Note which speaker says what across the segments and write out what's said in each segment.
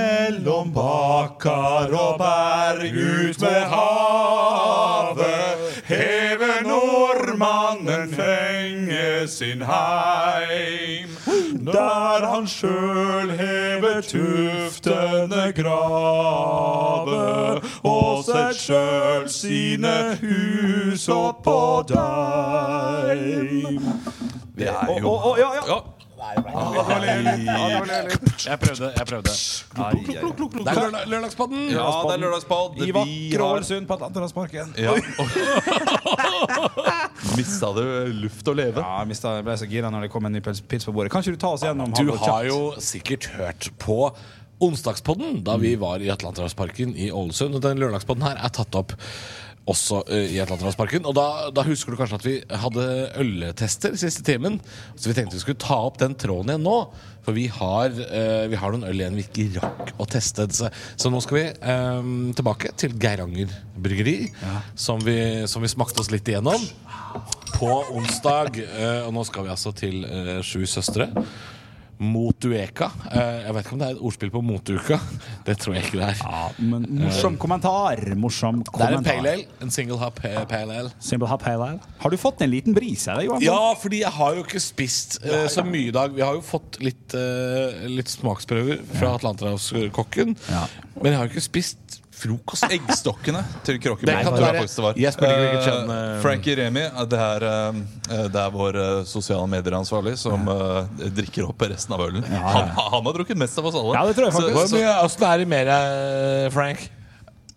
Speaker 1: Mellom Bakkar og berg ut ved havet hever nordmannen fenge sin heim. Der han sjøl hever tuftene grave og sett sjøl sine hus opp på deim. Det er
Speaker 2: Å,
Speaker 1: jo
Speaker 2: å, å, ja, ja.
Speaker 3: Ja.
Speaker 4: Jeg prøvde. jeg prøvde Ai, ai, ai.
Speaker 3: Det er lørdag, Lørdagspodden.
Speaker 2: Ja, det er lørdagspod.
Speaker 4: I
Speaker 2: Vi
Speaker 4: vakre
Speaker 2: har
Speaker 4: Ålesund på Atlanterhavsparken.
Speaker 1: ja. Mista du luft å leve?
Speaker 4: Ja, jeg mistet- jeg ble så gira når det kom en ny pils, pils på bordet. Kan ikke du ta oss gjennom
Speaker 3: Du
Speaker 4: Halvor,
Speaker 3: har
Speaker 4: kjapt?
Speaker 3: jo sikkert hørt på Onsdagspodden, da vi var i Atlanterhavsparken i Ålesund. Og den lørdagspodden her er tatt opp også eh, i Atlanterhavsparken. Og da, da husker du kanskje at vi hadde øltester siste timen. Så vi tenkte vi skulle ta opp den tråden igjen nå. For vi har, eh, vi har noen øl igjen vi ikke rakk å teste. Så, så nå skal vi eh, tilbake til Geiranger bryggeri, som, vi, som vi smakte oss litt igjennom. På onsdag. eh, og nå skal vi altså til eh, Sju søstre. Motueka. Eh, Jeg vet ikke om det er et ordspill på motuka. Det tror jeg ikke det er.
Speaker 4: Ja, men morsom kommentar. Morsom
Speaker 3: Eh. Det
Speaker 4: kommentar.
Speaker 3: er en pale ale. En single hop eh, pale ale.
Speaker 4: Simple hop pale ale. Har du fått en liten bris her, Johan?
Speaker 3: Ja, fordi jeg har jo ikke spist eh, så mye i dag. Vi har jo fått litt, eh, litt smaksprøver fra Atlanterhavskokken.
Speaker 4: Ja.
Speaker 3: Men jeg har jo ikke spist frokost.
Speaker 1: Eggstokkene til Kråkebø.
Speaker 3: Det kan
Speaker 1: tror jeg
Speaker 3: være-
Speaker 1: faktisk det var.
Speaker 3: Jeg spiller ikke
Speaker 1: Eh,
Speaker 3: kjenn, eh,
Speaker 1: Frankie Remi, eh, det er, eh, det er vår eh, sosiale medieransvarlig som eh, drikker opp resten av ølen. Han, han har drukket mest av oss alle.
Speaker 4: Ja, det tror jeg
Speaker 1: Så-
Speaker 4: faktisk.
Speaker 1: så-
Speaker 3: Åssen er altså, det mer, eh, Frank?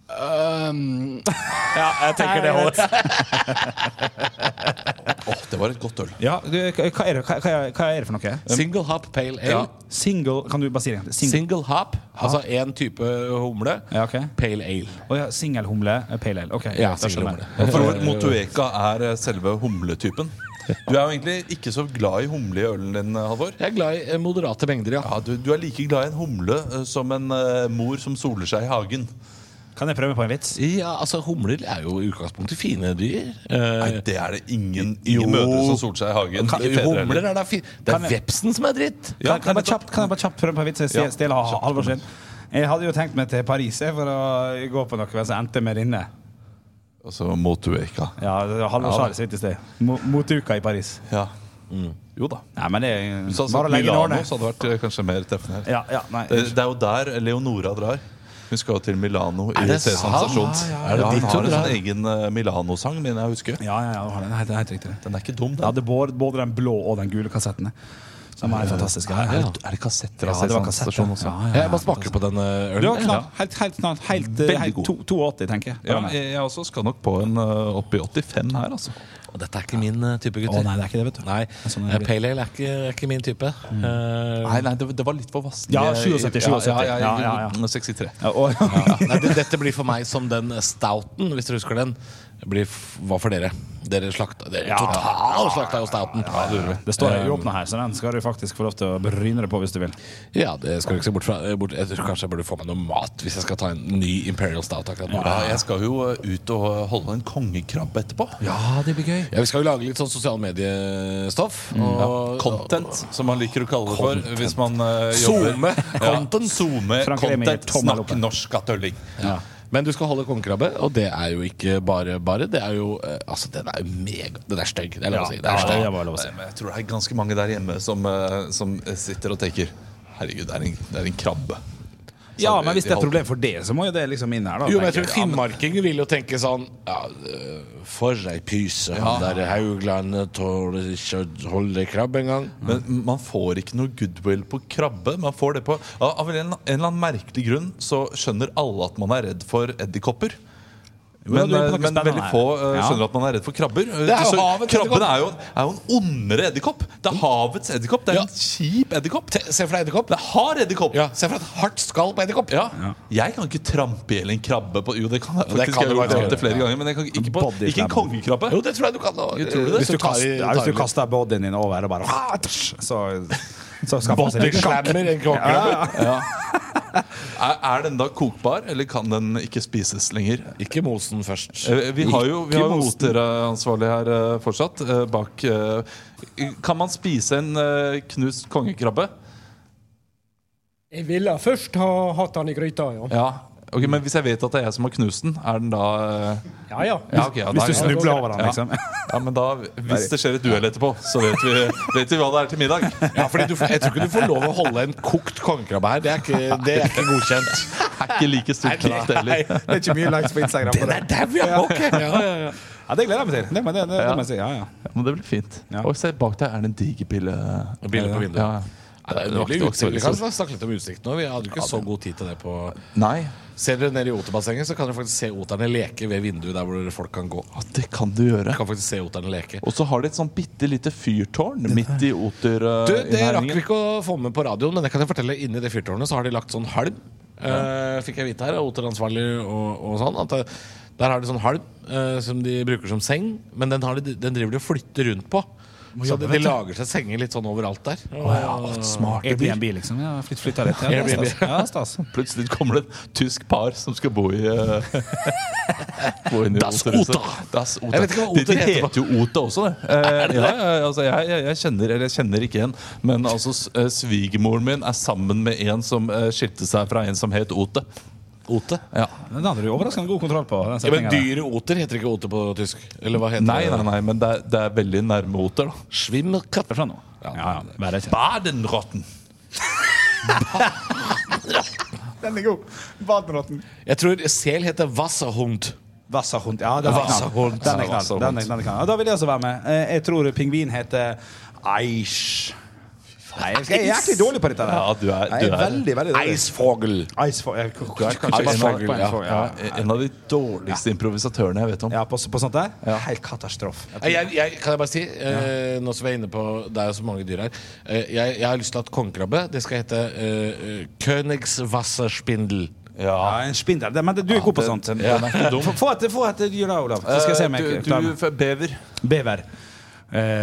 Speaker 2: Um,
Speaker 3: Ja, jeg tenker det holder.
Speaker 1: Åh, det var et godt øl.
Speaker 4: Ja, du, hva, hva er det, hva, hva- hva er det for noe?
Speaker 3: Single hop pale ale.
Speaker 1: Ja.
Speaker 4: Single Kan du bare si det? igjen? Single,
Speaker 3: Single hop, altså én type humle.
Speaker 4: Ja, ok.
Speaker 3: Pale ale.
Speaker 4: Å ja, singelhumle eh, pale ale. Ok,
Speaker 3: Ja,
Speaker 4: da skjønner jeg.
Speaker 3: singelhumle.
Speaker 1: Jeg tror Motueka er eh, selve humletypen. Du er jo egentlig ikke så glad i humle i ølen din, eh, Halvor.
Speaker 3: Jeg er glad i eh, moderate mengder, ja.
Speaker 1: Ja, du, du er like glad i en humle eh, som en eh, mor som soler seg i hagen.
Speaker 4: Kan jeg prøve på en vits?
Speaker 3: Ja, altså Humler er jo i utgangspunktet fine dyr. Eh,
Speaker 1: Nei, det er det ingen,
Speaker 3: Jo.
Speaker 1: ingen mødre som soler seg i hagen.
Speaker 3: kan,
Speaker 1: Ikke fedre heller.
Speaker 3: humler er da fin Det
Speaker 4: Kan
Speaker 3: er
Speaker 4: jeg-
Speaker 3: vepsen som er dritt!
Speaker 1: Ja,
Speaker 4: kan, kan, jeg bare
Speaker 1: nettopp.
Speaker 4: kjapt, kan jeg bare kjapt prøve på en vits? Jeg
Speaker 1: Ja,
Speaker 4: ja, stjeler ha- Halvor sin. Jeg hadde jo tenkt meg til Paris jeg, for å gå på noe, men så endte jeg med denne.
Speaker 1: Altså Motueka.
Speaker 4: Ja, det var Halvor
Speaker 1: Ja,
Speaker 4: sa
Speaker 1: da.
Speaker 4: det så vidt i sted. Mo- Motuka i Paris.
Speaker 1: Ja. Jo da.
Speaker 4: Nei, men det er
Speaker 1: Så, altså,
Speaker 4: bare å legge
Speaker 1: Milano
Speaker 4: nålene.
Speaker 1: så hadde vært eh, kanskje mer treffende. her. Eh,
Speaker 4: Ja, ja, nei.
Speaker 1: Det, det er jo der Leonora drar. Hun skal jo til Milano i
Speaker 3: det
Speaker 1: Sesam
Speaker 3: sant?
Speaker 1: stasjon.
Speaker 3: Ja, ja, ja. Er det dit
Speaker 1: hun har
Speaker 3: hun
Speaker 1: en
Speaker 3: drar?
Speaker 1: sånn egen eh, Milano-sang, mener jeg å huske.
Speaker 4: Ja, ja, ja, det har det. Nei, det er helt riktig. det.
Speaker 1: Den er ikke dum,
Speaker 4: Jeg
Speaker 1: den.
Speaker 4: hadde både, både den blå og den gule kassetten. jeg. Som er fantastisk. Ja, ja.
Speaker 1: Er det kassetter
Speaker 4: Ja, det var kassett.
Speaker 1: Stasjon også?
Speaker 4: Ja, ja,
Speaker 3: Jeg bare smaker på denne ølen.
Speaker 4: Du var knall, helt, helt, knall, helt,
Speaker 1: Veldig
Speaker 4: eh, helt
Speaker 1: god.
Speaker 4: to- 82, tenker jeg.
Speaker 1: Ja, jeg, jeg også skal nok på en eh, opp i 85 her, altså.
Speaker 3: Ja. Og dette er ikke min eh, type,
Speaker 4: Å
Speaker 3: gutter.
Speaker 4: nei, det er ikke det, vet du.
Speaker 3: Nei,
Speaker 4: Sånn er
Speaker 3: eh,
Speaker 4: det.
Speaker 3: Pale ale er ikke, er ikke min type. Eh,
Speaker 1: Nei, nei, det, det var litt for vassende.
Speaker 4: Ja, 77, 77.
Speaker 1: Ja, ja, ja,
Speaker 4: Ja, ja, ja.
Speaker 1: 63.
Speaker 4: Ja, og,
Speaker 3: ja. Nei, det, dette blir for meg som den eh, stouten, hvis dere husker den. Blir, f- hva for dere? Dere slakta dere
Speaker 4: Ja.
Speaker 3: total slakta jo stouten. Ja,
Speaker 4: det står ei åpna her, så den skal du faktisk få lov til å bryne deg på hvis du vil.
Speaker 3: det skal du ikke se bort fra. Eh, Bort, jeg, tror kanskje jeg burde få meg noe mat hvis jeg skal ta en ny Imperial Stout akkurat nå.
Speaker 1: Ja, jeg skal jo eh, ut og holde en kongekrabbe etterpå.
Speaker 4: Ja, det blir gøy.
Speaker 3: Ja, Vi skal jo lage litt sånn sosiale mediestoff. Og,
Speaker 1: Content, som man liker å kalle det for hvis man eh, jobber.
Speaker 3: Zoome content.
Speaker 1: Ja, zoome
Speaker 4: Frank Remi gir
Speaker 1: content.
Speaker 4: tommel opp.
Speaker 1: Snakk norsk, gattølling.
Speaker 4: Ja.
Speaker 3: Men du skal holde kongekrabbe, og det er jo ikke bare bare. Det er jo eh, Altså, den er jo mega Den er stygg. Det er lov å si. Det
Speaker 4: Ja,
Speaker 3: er
Speaker 4: det
Speaker 3: stygg.
Speaker 4: er bare lov å si.
Speaker 1: Nei, men Jeg tror det er ganske mange der hjemme som, eh, som sitter og tenker Herregud, det er en, det er en krabbe. Så
Speaker 4: Ja,
Speaker 1: vi-
Speaker 4: men hvis
Speaker 1: vi
Speaker 4: det er et
Speaker 1: holder-
Speaker 4: problem for det, så må jo det liksom inn her, da.
Speaker 3: Jo, men jeg
Speaker 4: tenker
Speaker 3: tror finnmarkinger vil jo tenke sånn ja, eh, For ei pyse. Han der Hauglandet tåler ikke å holde krabbe engang.
Speaker 4: Mm.
Speaker 1: Men man får ikke noe goodwill på krabbe. Man får det på Av av en, en eller annen merkelig grunn så skjønner alle at man er redd for edderkopper.
Speaker 4: ja,
Speaker 1: Men,
Speaker 4: du er på
Speaker 1: eh,
Speaker 4: noe
Speaker 1: men
Speaker 4: spennende
Speaker 1: veldig få eh,
Speaker 4: her. Ja.
Speaker 1: skjønner at man er redd for krabber.
Speaker 3: er jo
Speaker 1: Så
Speaker 3: havets
Speaker 1: krabben
Speaker 3: edderkopp.
Speaker 1: er jo, er jo en ondere edderkopp. Det er havets edderkopp. Det er
Speaker 3: Ja.
Speaker 1: en kjip edderkopp.
Speaker 3: Te- Se for deg edderkopp.
Speaker 1: Det er hard edderkopp.
Speaker 3: Ja, se for deg et hardt skall på edderkopp.
Speaker 1: Ja. Jeg kan ikke trampe i hjel en krabbe på Jo, det kan jeg
Speaker 3: Ja, det
Speaker 1: faktisk.
Speaker 3: kan
Speaker 1: jeg
Speaker 3: du
Speaker 1: har gjort
Speaker 3: faktisk
Speaker 1: det opptil
Speaker 3: gjøre,
Speaker 1: flere
Speaker 3: ja.
Speaker 1: ganger. Men jeg kan, ikke, på,
Speaker 4: Body
Speaker 1: ikke en
Speaker 4: slam.
Speaker 1: kongekrabbe.
Speaker 3: Jo, det tror jeg du kan. da.
Speaker 1: Jo, tror du det?
Speaker 4: Hvis
Speaker 3: Hvis
Speaker 4: du,
Speaker 3: du tar
Speaker 4: kaster,
Speaker 3: i
Speaker 4: ja, hvis
Speaker 3: tar i
Speaker 4: du
Speaker 3: litt.
Speaker 4: kaster bodyen din over og bare ah, tsch, Så, så skaffer man seg
Speaker 3: Body
Speaker 4: litt kakk.
Speaker 3: slammer en kongekrabbe.
Speaker 1: Er, er den da kokbar, eller kan den ikke spises lenger?
Speaker 3: Ikke mosen først.
Speaker 1: Eh, Vi har jo, vi har jo
Speaker 4: Ikke mosten.
Speaker 1: hoteransvarlig her eh, fortsatt. eh, Bak eh, Kan man spise en eh, knust kongekrabbe?
Speaker 5: Jeg ville først ha hatt han i gryta, ja.
Speaker 1: Ja, ok, Men hvis jeg vet at det er jeg som har knust den, er den da eh,
Speaker 5: Ja, ja.
Speaker 1: ja, ok, ja, da-
Speaker 4: Hvis du
Speaker 1: ja.
Speaker 4: snubler over den,
Speaker 1: Ja.
Speaker 4: liksom.
Speaker 1: Ja, men da, Hvis det skjer et duell etterpå, så vet vi, vet vi hva det er til middag.
Speaker 3: Ja, fordi du, Jeg tror ikke du får lov å holde en kokt kongekrabbe her. Det er ikke, det er ikke godkjent.
Speaker 1: Er ikke like stort kraft heller.
Speaker 4: Det er ikke mye likes på Instagram. på det.
Speaker 3: dau, ja! Ok.
Speaker 4: Ja, det gleder jeg meg til. Det, må- det, det, det må jeg si. Ja, ja.
Speaker 1: Ja, men det blir fint.
Speaker 4: Ja.
Speaker 1: Og se bak deg er det en diger pille.
Speaker 3: Bilde på vinduet.
Speaker 1: Ja.
Speaker 3: Ja, det er
Speaker 1: Det var ikke-
Speaker 3: nydelig altså.
Speaker 1: det var ikke så
Speaker 3: utsikt. Vi kan
Speaker 1: veldig
Speaker 3: snakke litt om utsikt nå. Vi hadde jo ikke så god tid til det på
Speaker 1: Nei,
Speaker 3: Ser dere nede i oterbassenget, så kan dere faktisk se oterne leke ved vinduet der hvor folk kan gå.
Speaker 1: ja, det kan du gjøre.
Speaker 3: Dere kan faktisk se oterne leke.
Speaker 1: Og så har de et sånn bitte lite fyrtårn midt i eh,
Speaker 3: Du, det rakk vi
Speaker 1: oterinnhegningen.
Speaker 3: ikke å få med på radioen, men det kan jeg fortelle. Inni det fyrtårnet så har de lagt sånn halm. eh, fikk jeg vite her, av oteransvarlig og, og sånn. At det, der har de sånn halm eh, som de bruker som seng, men den, har de, den driver de og flytter rundt på. Så de, de lager seg senger litt sånn overalt der.
Speaker 1: Smarte
Speaker 4: Airbnb, liksom. Ja, flytt, flytta litt. Ja, det er
Speaker 3: Airbnb.
Speaker 4: stas. Ja, stas.
Speaker 1: Plutselig kommer det et tysk par som skal bo i eh, bo inn i
Speaker 3: Das
Speaker 1: Oterhuset.
Speaker 3: Ota.
Speaker 1: Das Ota.
Speaker 3: Jeg vet ikke hva
Speaker 1: de,
Speaker 3: Oter
Speaker 1: de
Speaker 3: heter på-
Speaker 1: heter jo Ota også, det. Eh, ja, ja, altså, jeg, jeg, jeg kjenner eller jeg kjenner ikke en, men altså, s- eh, svigermoren min er sammen med en som eh, skilte seg fra en som het Ote.
Speaker 3: Ote.
Speaker 1: Ja.
Speaker 4: Den hadde du overraskende god kontroll på. Den
Speaker 3: Ja, men
Speaker 4: setningen der.
Speaker 3: dyret oter heter ikke oter på tysk. Eller hva heter
Speaker 1: Nei, nei,
Speaker 3: det?
Speaker 1: nei, men det er, det er veldig nærme Oter, da.
Speaker 3: Schwimmerkatt.
Speaker 4: Hva er det for noe? Ja, ja, bare kjent.
Speaker 1: Badenrotten!
Speaker 4: Den er god. Baderotten.
Speaker 3: Jeg tror sel heter Wasserhund.
Speaker 4: Wasserhund. Ja, den er knall.
Speaker 3: Wasserhund.
Speaker 4: Den er knall. Den er, den er knall. Ja, Da vil jeg også være med. Eh, Jeg tror pingvin heter Eish. Nei, jeg skal- jeg er jæklig dårlig på dette. der.
Speaker 1: Ja, du er- du
Speaker 4: jeg er
Speaker 1: er-
Speaker 4: veldig, veldig dårlig.
Speaker 3: Eisvogel.
Speaker 4: Ice for, jeg,
Speaker 1: Du er kanskje
Speaker 4: Ice
Speaker 1: en
Speaker 4: for-
Speaker 1: av,
Speaker 4: på en
Speaker 1: ja,
Speaker 4: for-
Speaker 1: ja, en av de dårligste improvisatørene jeg vet om.
Speaker 4: Ja, på, på sånt der? Helt katastrofe.
Speaker 3: Nei, Jeg, jeg, kan jeg bare si, eh, nå som vi er inne på Det er jo så mange dyr her. Eh, jeg, jeg har lyst til at kongekrabbe Det skal hete eh, eh, Königswasserspindel.
Speaker 1: Ja.
Speaker 4: Ja, en spindel. Det- Men det- du er god på sånt.
Speaker 1: den er ikke dum. Eh,
Speaker 4: Få- Få et, få et dyr, da, Olav. Så skal jeg se om jeg
Speaker 1: du,
Speaker 4: klarer
Speaker 1: du,
Speaker 4: meg.
Speaker 1: f- bever.
Speaker 4: Bever.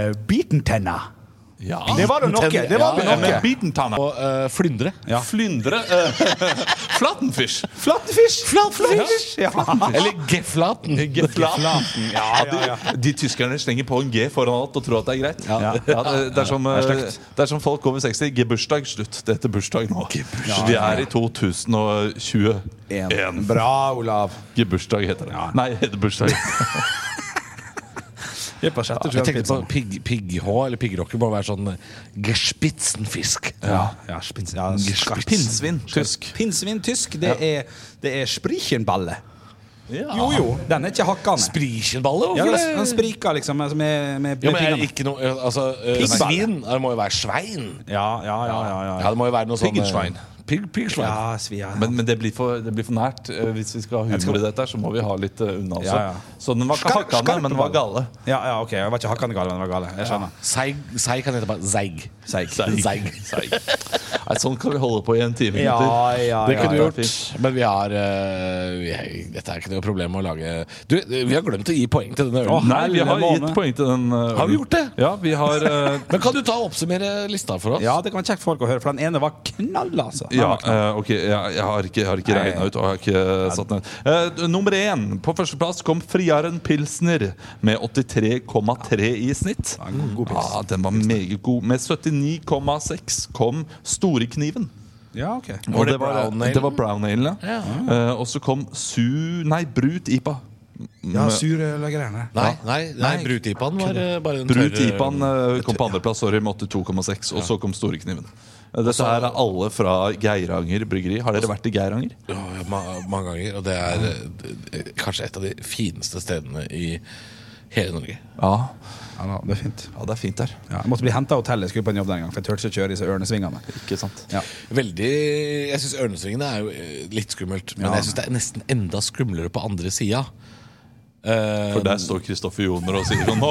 Speaker 4: Eh, Bitentenna.
Speaker 1: Ja.
Speaker 4: Det var det noe! Det var det
Speaker 1: Ja, men
Speaker 4: noe.
Speaker 1: Bitentanna.
Speaker 3: Og eh, flyndre.
Speaker 4: Ja.
Speaker 1: Flyndre eh, Flattenfish!
Speaker 4: Flattefish! Flattefish! Ja.
Speaker 3: Eller geflaten.
Speaker 1: Geflaten. Ja, de, de tyskerne slenger på en G foran alt og tror at det er greit. Ja. det, det, er som, eh,
Speaker 4: Det er slekt.
Speaker 1: det er som folk over 60. Gebursdag slutt. Det heter bursdag nå. Vi er i 2021.
Speaker 4: En. Bra, Olav.
Speaker 1: Gebursdag heter det.
Speaker 4: Ja.
Speaker 1: Nei, det heter bursdag.
Speaker 4: Jeg er på sjette, tror
Speaker 3: Jeg
Speaker 4: jeg.
Speaker 3: tenkte på pigg- pigghå eller piggrocker må være sånn eh, gespitzenfisk.
Speaker 4: Ja, ja, spins, ja, skarpt.
Speaker 1: Pinnsvin. Tysk.
Speaker 4: Pinnsvin tysk, det er, det er sprichenballe. Jo, jo. Den er ikke hakkende.
Speaker 3: Sprichenballe?
Speaker 4: Ja,
Speaker 3: Hvorfor
Speaker 4: den,
Speaker 3: det?
Speaker 4: den spriker liksom med, med, med
Speaker 3: Ja, men er det
Speaker 4: pingene.
Speaker 3: ikke noe eh, Altså, eh,
Speaker 4: Piggballe.
Speaker 3: svin det må jo være svein.
Speaker 4: Ja, ja, ja. ja, ja.
Speaker 3: Ja, det må jo være noe sånn
Speaker 1: Piggsvein.
Speaker 3: eh, Pigg, piggsvein.
Speaker 4: Ja, svi, ja.
Speaker 1: Men, men det, blir for, det blir for nært. eh, Hvis vi skal ha humor i dette, her, så må vi ha litt eh, unna. også.
Speaker 4: Ja, ja.
Speaker 1: Så den var ikke
Speaker 4: Skarp-
Speaker 1: hakkande,
Speaker 4: skarpe
Speaker 1: men den var
Speaker 4: baller.
Speaker 1: gale.
Speaker 4: ja, ja, ok, Jeg var ikke hakkende gal, men jeg var gal. Jeg skjønner.
Speaker 3: Seig, seig kan hete bare zeig.
Speaker 4: Seig.
Speaker 3: Zeig.
Speaker 1: Nei, sånn kan vi holde på i en time.
Speaker 4: Ja,
Speaker 1: gutter.
Speaker 4: ja,
Speaker 3: Det
Speaker 4: ja,
Speaker 3: kunne vi
Speaker 1: ja.
Speaker 3: gjort, men vi har eh, vi, er- Dette er ikke noe problem å lage Du, vi har glemt å gi poeng til denne ølen.
Speaker 4: Åh.
Speaker 1: Nei, vi har
Speaker 4: Lille måne.
Speaker 1: gitt poeng til den. eh,
Speaker 3: Har vi
Speaker 1: ølen.
Speaker 3: gjort det?
Speaker 1: Ja, vi har eh,
Speaker 3: Men kan du ta og oppsummere lista for oss?
Speaker 4: Ja, det kan være kjekt for folk å høre, for den ene var knall, altså. Den
Speaker 1: Ja,
Speaker 4: var knall.
Speaker 1: eh, ok, jeg, jeg har ikke, jeg har ikke
Speaker 4: Nei.
Speaker 1: regna ut. Og jeg har ikke eh, satt ned. Eh, nummer én. På førsteplass kom Friaren Pilsner med 83,3 i snitt.
Speaker 4: Ja, en god- god pils.
Speaker 1: Ja, den var meget god. Med 79,6 kom Storekniven.
Speaker 4: Ja, ok.
Speaker 1: Og
Speaker 3: det
Speaker 1: det var
Speaker 3: brown ale?
Speaker 1: det var brown ale, ja. Eh, og så kom su... Nei, brut ipa. Mm,
Speaker 4: Ja, sur eller greiene.
Speaker 3: Nei, nei, nei, Brutipaen var eh, bare en
Speaker 1: Brut
Speaker 3: tørre-
Speaker 1: ipaen eh, kom på andreplass, sorry, med 82,6. Og så kom Storekniven. Eh, Dette her er alle fra Geiranger bryggeri. Har dere vært i Geiranger?
Speaker 3: Ja, ja, ma mange ganger. Og det er eh, d- eh, kanskje et av de fineste stedene i hele Norge.
Speaker 1: Ja.
Speaker 4: Ja, da, det er fint.
Speaker 1: ja, det er fint der.
Speaker 4: Ja, jeg måtte bli hentet av hotellet, jeg skulle på en jobb den gang, for jeg turte ikke kjøre i disse ørnesvingene.
Speaker 1: Ikke sant?
Speaker 4: Ja.
Speaker 3: Veldig Jeg syns Ørnesvingene er jo eh, litt skummelt, men
Speaker 4: Ja.
Speaker 3: jeg syns det er nesten enda skumlere på andre sida. Eh,
Speaker 1: For der står Kristoffer Joner og sier sånn, nå,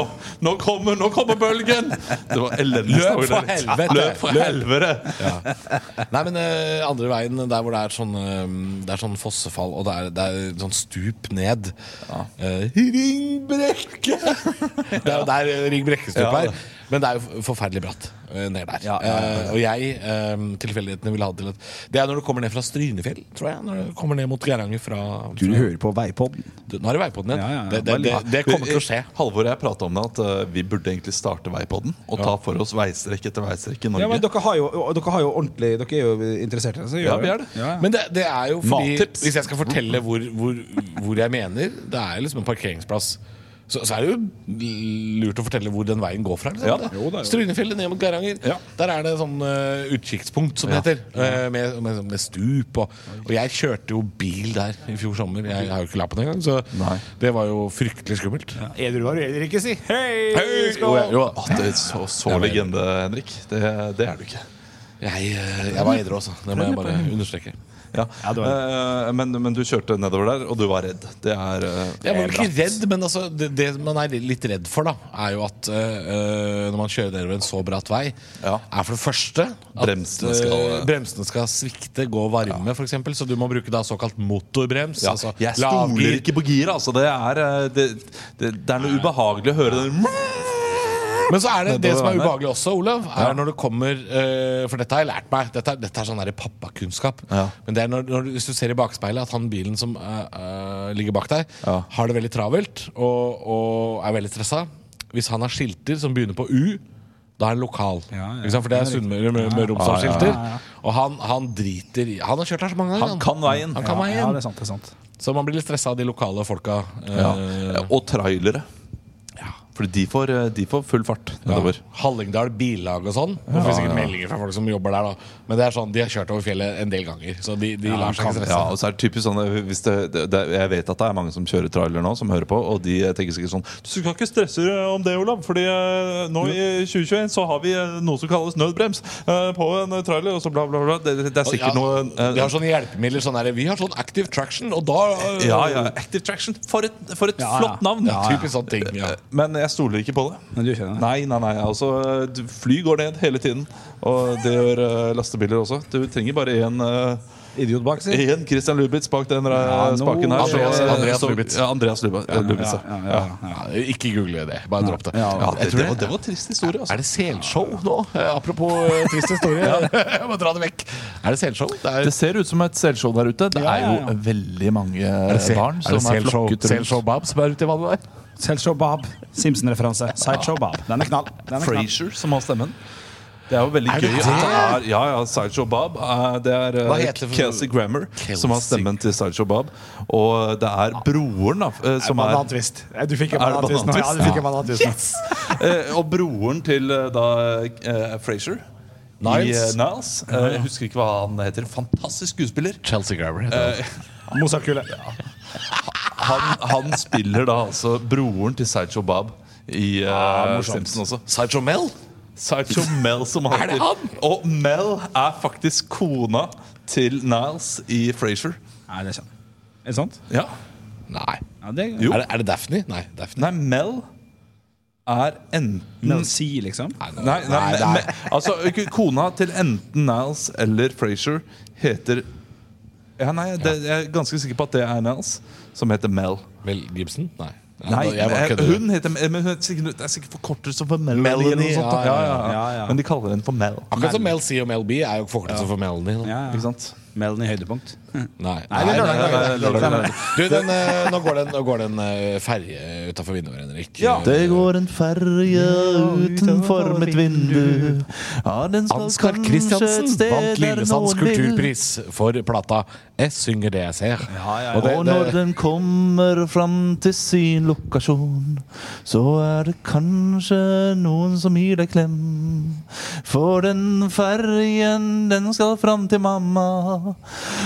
Speaker 1: nå, kommer, nå kommer bølgen! Det var elendig
Speaker 3: Løp
Speaker 1: story,
Speaker 3: for
Speaker 1: det litt.
Speaker 3: helvete!
Speaker 1: Løp for helvete!
Speaker 3: Nei, men eh, andre veien, der hvor det er sånn eh, Det er sånn fossefall, og det er, det er sånn stup ned. Eh, Ring Brekke! det er jo der Ring Brekke-stupet
Speaker 1: Ja,
Speaker 3: er.
Speaker 1: det.
Speaker 3: Men det er jo f- forferdelig bratt eh, ned der.
Speaker 4: Ja, ja, ja.
Speaker 3: Eh, og jeg, eh, tilfeldighetene ville ha det til at Det er når du kommer ned fra Strynefjell, tror jeg. Når du kommer ned mot Geiranger fra,
Speaker 4: Du
Speaker 3: fra
Speaker 4: hører på Veipodden.
Speaker 3: Du, Nå er det veipodden igjen.
Speaker 4: Ja, ja, ja.
Speaker 3: Det, det, det, det kommer til å skje.
Speaker 1: Halvor og jeg prata om det at eh, vi burde egentlig starte Veipodden og ta for oss veistrekk etter veistrekk i Norge.
Speaker 4: Ja, men dere har, jo, og dere har jo ordentlig Dere er jo interessert i det. Så
Speaker 1: Ja,
Speaker 4: gjør
Speaker 1: vi
Speaker 4: det.
Speaker 1: er det.
Speaker 4: Ja, ja.
Speaker 3: Men det, det er jo fordi
Speaker 1: Mattips.
Speaker 3: Hvis jeg skal fortelle hvor, hvor, hvor jeg mener Det er liksom en parkeringsplass. Så, så er det jo lurt å fortelle hvor den veien går fra. Liksom.
Speaker 1: Ja.
Speaker 3: Det-
Speaker 4: Jo, det er jo-
Speaker 3: Strynefjellet ned mot Geiranger.
Speaker 1: Ja.
Speaker 3: Der er det sånn eh, utkikkspunkt, som det heter. eh, med, med, med stup og Og jeg kjørte jo bil der i fjor sommer. Jeg har jo ikke lappen engang, så
Speaker 1: Nei.
Speaker 3: det var jo fryktelig skummelt.
Speaker 4: Edru var du heller ikke, si. Hei!
Speaker 3: Hei,
Speaker 4: skål!
Speaker 3: jo, jeg, jo,
Speaker 1: At det er så, så
Speaker 3: Ja, men-
Speaker 1: legende, Henrik. Det, det er du ikke.
Speaker 3: jeg, eh, jeg var edru også. Det må jeg bare understreke.
Speaker 1: Ja. Eh, men, men du kjørte nedover der, og du var redd. Det er eh,
Speaker 3: Jeg var vel ikke redd, men altså, det, det man er litt redd for, da er jo at øh, når man kjører nedover en så bratt vei,
Speaker 1: Ja.
Speaker 3: er for det første at
Speaker 1: Bremsene skal-
Speaker 3: øh, bremsene skal svikte, gå varme, for f.eks., så du må bruke da såkalt motorbrems.
Speaker 1: ja,
Speaker 3: altså
Speaker 1: jeg
Speaker 3: lavgir.
Speaker 1: stoler ikke på giret. Altså, det, er, eh, det, det, det er noe ubehagelig å høre den
Speaker 3: Men så er det det
Speaker 1: Nedover
Speaker 3: som er
Speaker 1: veien der.
Speaker 3: ubehagelig også, Olav, er når du kommer øh, For dette har jeg lært meg. Dette, er- dette er sånn der pappakunnskap.
Speaker 1: Ja.
Speaker 3: Men det er når, når, du- hvis du ser i bakspeilet at han bilen som øh, øh, ligger bak deg,
Speaker 1: Ja.
Speaker 3: har det veldig travelt og, og er veldig stressa Hvis han har skilter som begynner på U, da er han lokal.
Speaker 4: Ja, ja.
Speaker 3: Ikke sant? For det er Sunnmøre Møre- Møre- Romsdal-skilter.
Speaker 4: Ja, ja, ja.
Speaker 3: Og han, han driter i Han har kjørt her så mange ganger.
Speaker 1: Han kan veien.
Speaker 3: Han kan
Speaker 4: Ja,
Speaker 3: veien.
Speaker 4: det er sant. det er sant
Speaker 3: Så man blir litt stressa av de lokale folka. øh,
Speaker 1: ja. Eh, Og trailere. For de får, eh, de får full fart nedover.
Speaker 3: Hallingdal billag og sånn. Det finnes sikkert meldinger fra folk som jobber der, da. Men det er sånn, de har kjørt over fjellet en del ganger. Så de, de lar seg ikke stresse.
Speaker 1: Ja, og så er det typisk sånn hvis det, det, det, Jeg vet at det er mange som kjører trailer nå, som hører på, og de tenker sikkert sånn Du skal ikke stresse om det, Olav, Fordi eh, nå i 2021 så har vi eh, noe som kalles nødbrems eh, på en trailer, og så bla, bla, bla. Det, det er
Speaker 3: Og ja,
Speaker 1: sikkert noe eh,
Speaker 3: Vi har sånne hjelpemidler. Sånn her, vi har sånn active traction, og da øh,
Speaker 1: ja, ja, Active Traction. For et, for et
Speaker 4: Ja, ja.
Speaker 1: flott navn! Eh,
Speaker 3: Ja, Typisk sånne ting. Ja.
Speaker 1: Men jeg stoler ikke på det.
Speaker 4: Men du kjenner det?
Speaker 1: Nei, nei, nei. Altså, du- fly går ned hele tiden. Og det gjør eh, lastebiler også. Du trenger bare én
Speaker 4: Idiot bak, si.
Speaker 1: Igjen Christian Lubitz bak den
Speaker 4: Ja,
Speaker 1: eh,
Speaker 4: nå-
Speaker 1: spaken her.
Speaker 3: Andreas-
Speaker 1: Så-
Speaker 3: Andreas
Speaker 1: så-
Speaker 3: Lubitz.
Speaker 1: Ja, Andreas Lubitz. Ja, Lubitz ja.
Speaker 4: Ja, ja, ja.
Speaker 3: Ja, ikke google det. Bare dropp det.
Speaker 4: Ja,
Speaker 1: Ja, det,
Speaker 3: Jeg tror
Speaker 1: det, var, det var trist historie. Altså.
Speaker 3: Er det selshow nå? Eh, Apropos eh, trist historie. Jeg må dra det vekk. Er det selshow? Det er,
Speaker 1: Det ser ut som et selshow der ute. Det
Speaker 4: Ja, ja,
Speaker 1: er
Speaker 4: ja.
Speaker 1: jo veldig mange
Speaker 3: se-
Speaker 1: barn
Speaker 3: er det
Speaker 1: som er
Speaker 3: selshow-
Speaker 1: flokket rundt.
Speaker 3: Selshow Bob som er ute i vannet der?
Speaker 4: Selvshow Bob. Simpson-referanse. Sideshow Bob. Den er knall. Den er knall.
Speaker 1: Frasier som har stemmen. Det er jo veldig
Speaker 3: Er det
Speaker 1: gøy.
Speaker 3: det?
Speaker 1: at Det er, ja, ja, Sideshow Bob. eh, Det er eh,
Speaker 3: Hva heter det for-
Speaker 1: Kelsey Grammer
Speaker 3: Kelsey-
Speaker 1: som har stemmen til Sideshow Bob. Og det er broren da, eh, som er
Speaker 6: Banantvist. Eh, Du fikk en
Speaker 1: Er det
Speaker 6: banantvist nå. Ja, du fikk en banantvist nå.
Speaker 1: Eh, Og broren til eh, da eh, Frasier
Speaker 3: Niles.
Speaker 1: I, eh, Niles. Eh, Jeg husker ikke hva han heter. Fantastisk skuespiller.
Speaker 3: Chelsea Grabber. heter det.
Speaker 6: Mozartkule.
Speaker 1: Han, han spiller da altså broren til Sideshow Bob i eh,
Speaker 3: Ah,
Speaker 1: Simpson også.
Speaker 3: Sideshow Mel?
Speaker 1: Sideshow Mel som han
Speaker 3: Er det
Speaker 1: heter.
Speaker 3: han?
Speaker 1: Og Mel er faktisk kona til Niles i Frasier.
Speaker 4: Nei, det er sant. Er det sant?
Speaker 1: Ja.
Speaker 3: Nei.
Speaker 4: Ja, det
Speaker 1: Jo.
Speaker 3: Er det, er det Daphne? Nei. Daphne.
Speaker 1: Nei, Mel er enten
Speaker 4: Men si, liksom.
Speaker 3: Nei, nå-
Speaker 1: Nei, nei,
Speaker 3: nei,
Speaker 1: men-
Speaker 3: nei.
Speaker 1: men- altså k- Kona til enten Niles eller Frasier heter ja, nei, det, Jeg er ganske sikker på at det er Niles, som heter Mel.
Speaker 3: Vel, Gibson? Nei. Ja,
Speaker 1: Nei,
Speaker 3: da- jeg bare
Speaker 1: men
Speaker 3: kødder.
Speaker 1: hun heter men hun er sikkert, Det er sikkert forkortelse for Melanie.
Speaker 3: Melanie,
Speaker 1: eller noe sånt, da.
Speaker 3: ja,
Speaker 1: ja,
Speaker 3: ja,
Speaker 1: ja, ja.
Speaker 4: Ja, ja.
Speaker 1: Men de kaller henne for Mel.
Speaker 3: Akkurat som Mel C og Mel B er jo forkortelse for Melanie. da.
Speaker 4: Ja,
Speaker 1: Ikke
Speaker 4: ja.
Speaker 1: sant?
Speaker 4: Melden i høydepunkt.
Speaker 3: Nei.
Speaker 4: det er
Speaker 3: Nei,
Speaker 4: lørdag,
Speaker 3: nei,
Speaker 1: lørdag,
Speaker 3: nei, nei,
Speaker 1: lørdag,
Speaker 3: nei, nei. Du, den, eh, nå går det en, nå går det en eh, ferje utafor vinduet, Henrik.
Speaker 1: Ja. Det går en ferje utenfor mitt vindu. Ja, den
Speaker 3: Ansgar Kristiansen vant Lillesands kulturpris for plata 'Jeg synger det jeg ser'. Og det, det,
Speaker 1: den kommer fram til sin lokasjon, så er det kanskje noen som gir deg klem. For den ferjen, den skal fram til mamma,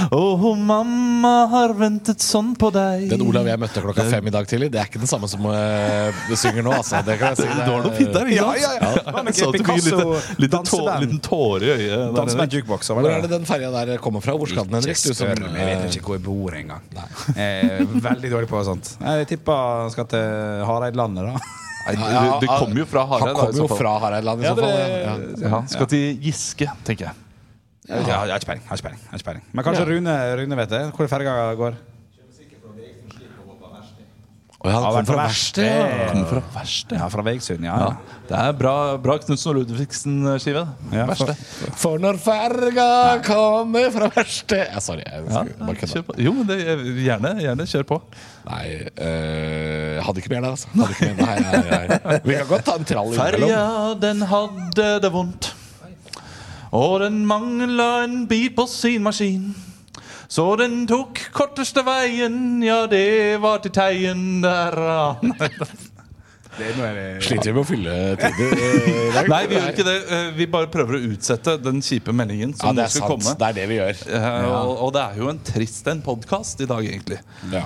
Speaker 1: og hun mamma har ventet sånn på deg.
Speaker 3: den Olav jeg møtte klokka fem i dag tidlig, det er ikke den samme som eh, du synger nå. Altså. Det kan jeg si.
Speaker 1: Det var noe fint der, ikke sant?
Speaker 4: Ja, ja, ja. Hva med
Speaker 1: Jeg så at du fikk
Speaker 4: Picasso,
Speaker 1: litt- litt tå-
Speaker 4: danseband?
Speaker 1: liten tåre i øyet. der,
Speaker 4: Dans med
Speaker 1: Henrik.
Speaker 4: en jukebox.
Speaker 3: Hvor er det den ferja der kommer fra? Hvor skal den, Henrik? Du som,
Speaker 4: jeg vet ikke hvor jeg bor engang. Eh, veldig dårlig på sånt. Jeg tipper han skal til Hareidlandet, da.
Speaker 1: Nei,
Speaker 3: Ja,
Speaker 1: du, du kom jo fra Hareid.
Speaker 3: Han
Speaker 1: da, i
Speaker 3: kommer
Speaker 1: så
Speaker 3: jo
Speaker 1: fall.
Speaker 3: fra Hareidland, i
Speaker 4: Ja,
Speaker 3: så fall.
Speaker 4: det-
Speaker 3: Ja.
Speaker 1: Ja, skal til Giske, tenker jeg.
Speaker 4: Jeg har jeg har ikke peiling. jeg har ikke peiling, jeg har ikke peiling. Men kanskje Rune, Rune vet det? Hvor ferga går?
Speaker 3: Å ja,
Speaker 4: Har
Speaker 3: han
Speaker 4: vært
Speaker 3: kom fra
Speaker 4: på
Speaker 3: verksted. ja.
Speaker 1: Kommer fra verste.
Speaker 4: Ja, fra Vegsund, ja.
Speaker 1: Ja. Det er bra, bra Knutsen og Ludvigsen-skive.
Speaker 4: Ja,
Speaker 1: Verste.
Speaker 3: For når ferga kommer fra verksted ja, Sorry, jeg
Speaker 1: Ja,
Speaker 3: skulle bare kødda.
Speaker 1: kjør på. Jo, men det, gjerne, gjerne kjør på.
Speaker 3: Nei, eh, jeg hadde ikke mer der, altså. Hadde ikke mer. Nei, nei, nei. Vi kan godt ta en trall innimellom.
Speaker 1: Ferja, den hadde det vondt. Og den mangla en bit på sin maskin. Så den tok korteste veien, ja, det var til Teien der. ah.
Speaker 4: Det er noe jeg-
Speaker 3: Sliter vi med å fylle tider? eh, i dag?
Speaker 1: Nei, vi gjør ikke det. Eh, Vi bare prøver å utsette den kjipe meldingen som
Speaker 3: Ja, det
Speaker 1: nå
Speaker 3: er
Speaker 1: skal
Speaker 3: sant.
Speaker 1: komme.
Speaker 3: Det er det vi gjør.
Speaker 1: Eh, Og, og det er jo en trist en podkast i dag, egentlig.
Speaker 3: Ja.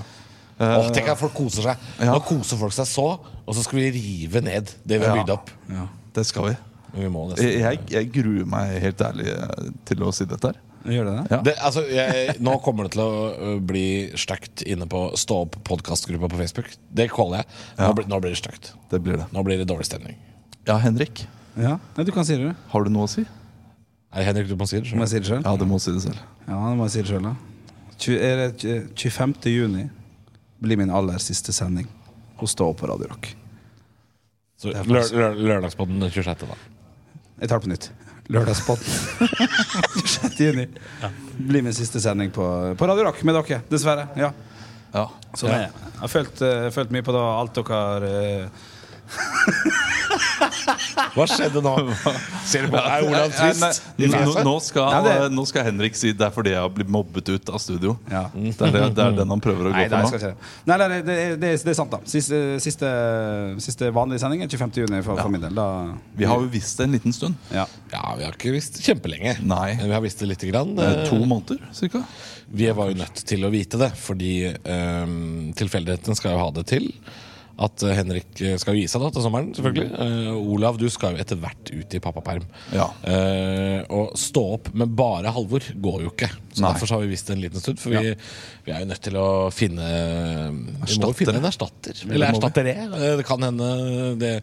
Speaker 1: Eh,
Speaker 3: Åh, tenk at folk koser seg. Nå koser folk seg så, og så skal vi rive ned det vi har bygd opp.
Speaker 4: Ja.
Speaker 1: Det skal vi.
Speaker 3: Men Vi må
Speaker 1: Jeg,
Speaker 3: nesten
Speaker 1: jeg, jeg gruer meg helt ærlig eh, til å si dette her.
Speaker 4: Gjør det det?
Speaker 1: Ja.
Speaker 3: det, altså, jeg, Nå kommer det til å ø, bli stygt inne på Stå opp podkastgruppa på Facebook. Det caller jeg. Nå, blir- nå blir det stygt.
Speaker 1: Det blir det.
Speaker 3: Nå blir det dårlig stemning.
Speaker 1: Ja, Henrik.
Speaker 4: Ja. Nei, du kan si det, du.
Speaker 1: Har du noe å si?
Speaker 3: Er det Henrik du må si det?
Speaker 4: Må
Speaker 3: skjønner
Speaker 4: jeg si det sjøl?
Speaker 1: Ja, du må si det selv.
Speaker 4: Ja, nå må jeg si det sjøl, da. Tju- Er det tju- 25. juni blir min aller siste sending hos Stå opp på Radio Rock.
Speaker 3: du? Så lø- lø- Lørdagspodden den 26. da.
Speaker 4: Jeg tar det på nytt. Lørdagspodden. 26. juni blir min siste sending på, på Radio Rock med dere, dessverre. Ja.
Speaker 1: Ja.
Speaker 4: Sånn er det. Jeg har følt, eh, følt mye på da alt dere har eh,
Speaker 3: Hva skjedde nå? Ser du på meg, Olav Twist?
Speaker 1: Nei, nei, nå, nå, skal,
Speaker 4: Nei, det-
Speaker 1: nå skal Henrik si det er fordi jeg har blitt mobbet ut av studio.
Speaker 4: Ja.
Speaker 1: Det, er det, det er den han prøver å gå
Speaker 4: Nei, nei, jeg
Speaker 1: for nå.
Speaker 4: skal ikke det. Nei, nei, nei, det, er- det, er- det er sant, da. Siste, siste, siste vanlige sending er 25. juni for, for min del. Da,
Speaker 1: Vi har jo visst det en liten stund.
Speaker 4: ja.
Speaker 3: Ja, vi har ikke visst det kjempelenge.
Speaker 1: Nei.
Speaker 3: Men Vi har visst det lite grann.
Speaker 1: Eh,
Speaker 3: eh,
Speaker 1: To måneder, cirka.
Speaker 3: Vi var jo nødt til å vite det, fordi um, tilfeldigheten skal jo ha det til. At eh, Henrik eh, skal jo gi seg da til sommeren, selvfølgelig. Eh, Olav, du skal jo etter hvert ut i pappaperm.
Speaker 1: Ja.
Speaker 3: Eh, og stå opp med bare Halvor går jo ikke. Så
Speaker 1: Nei.
Speaker 3: derfor så har vi visst det en liten stund. For vi, vi er jo nødt til å finne Vi må jo
Speaker 1: Erstattere.
Speaker 3: finne en erstatter. Eller erstattere. Eh, Det kan hende det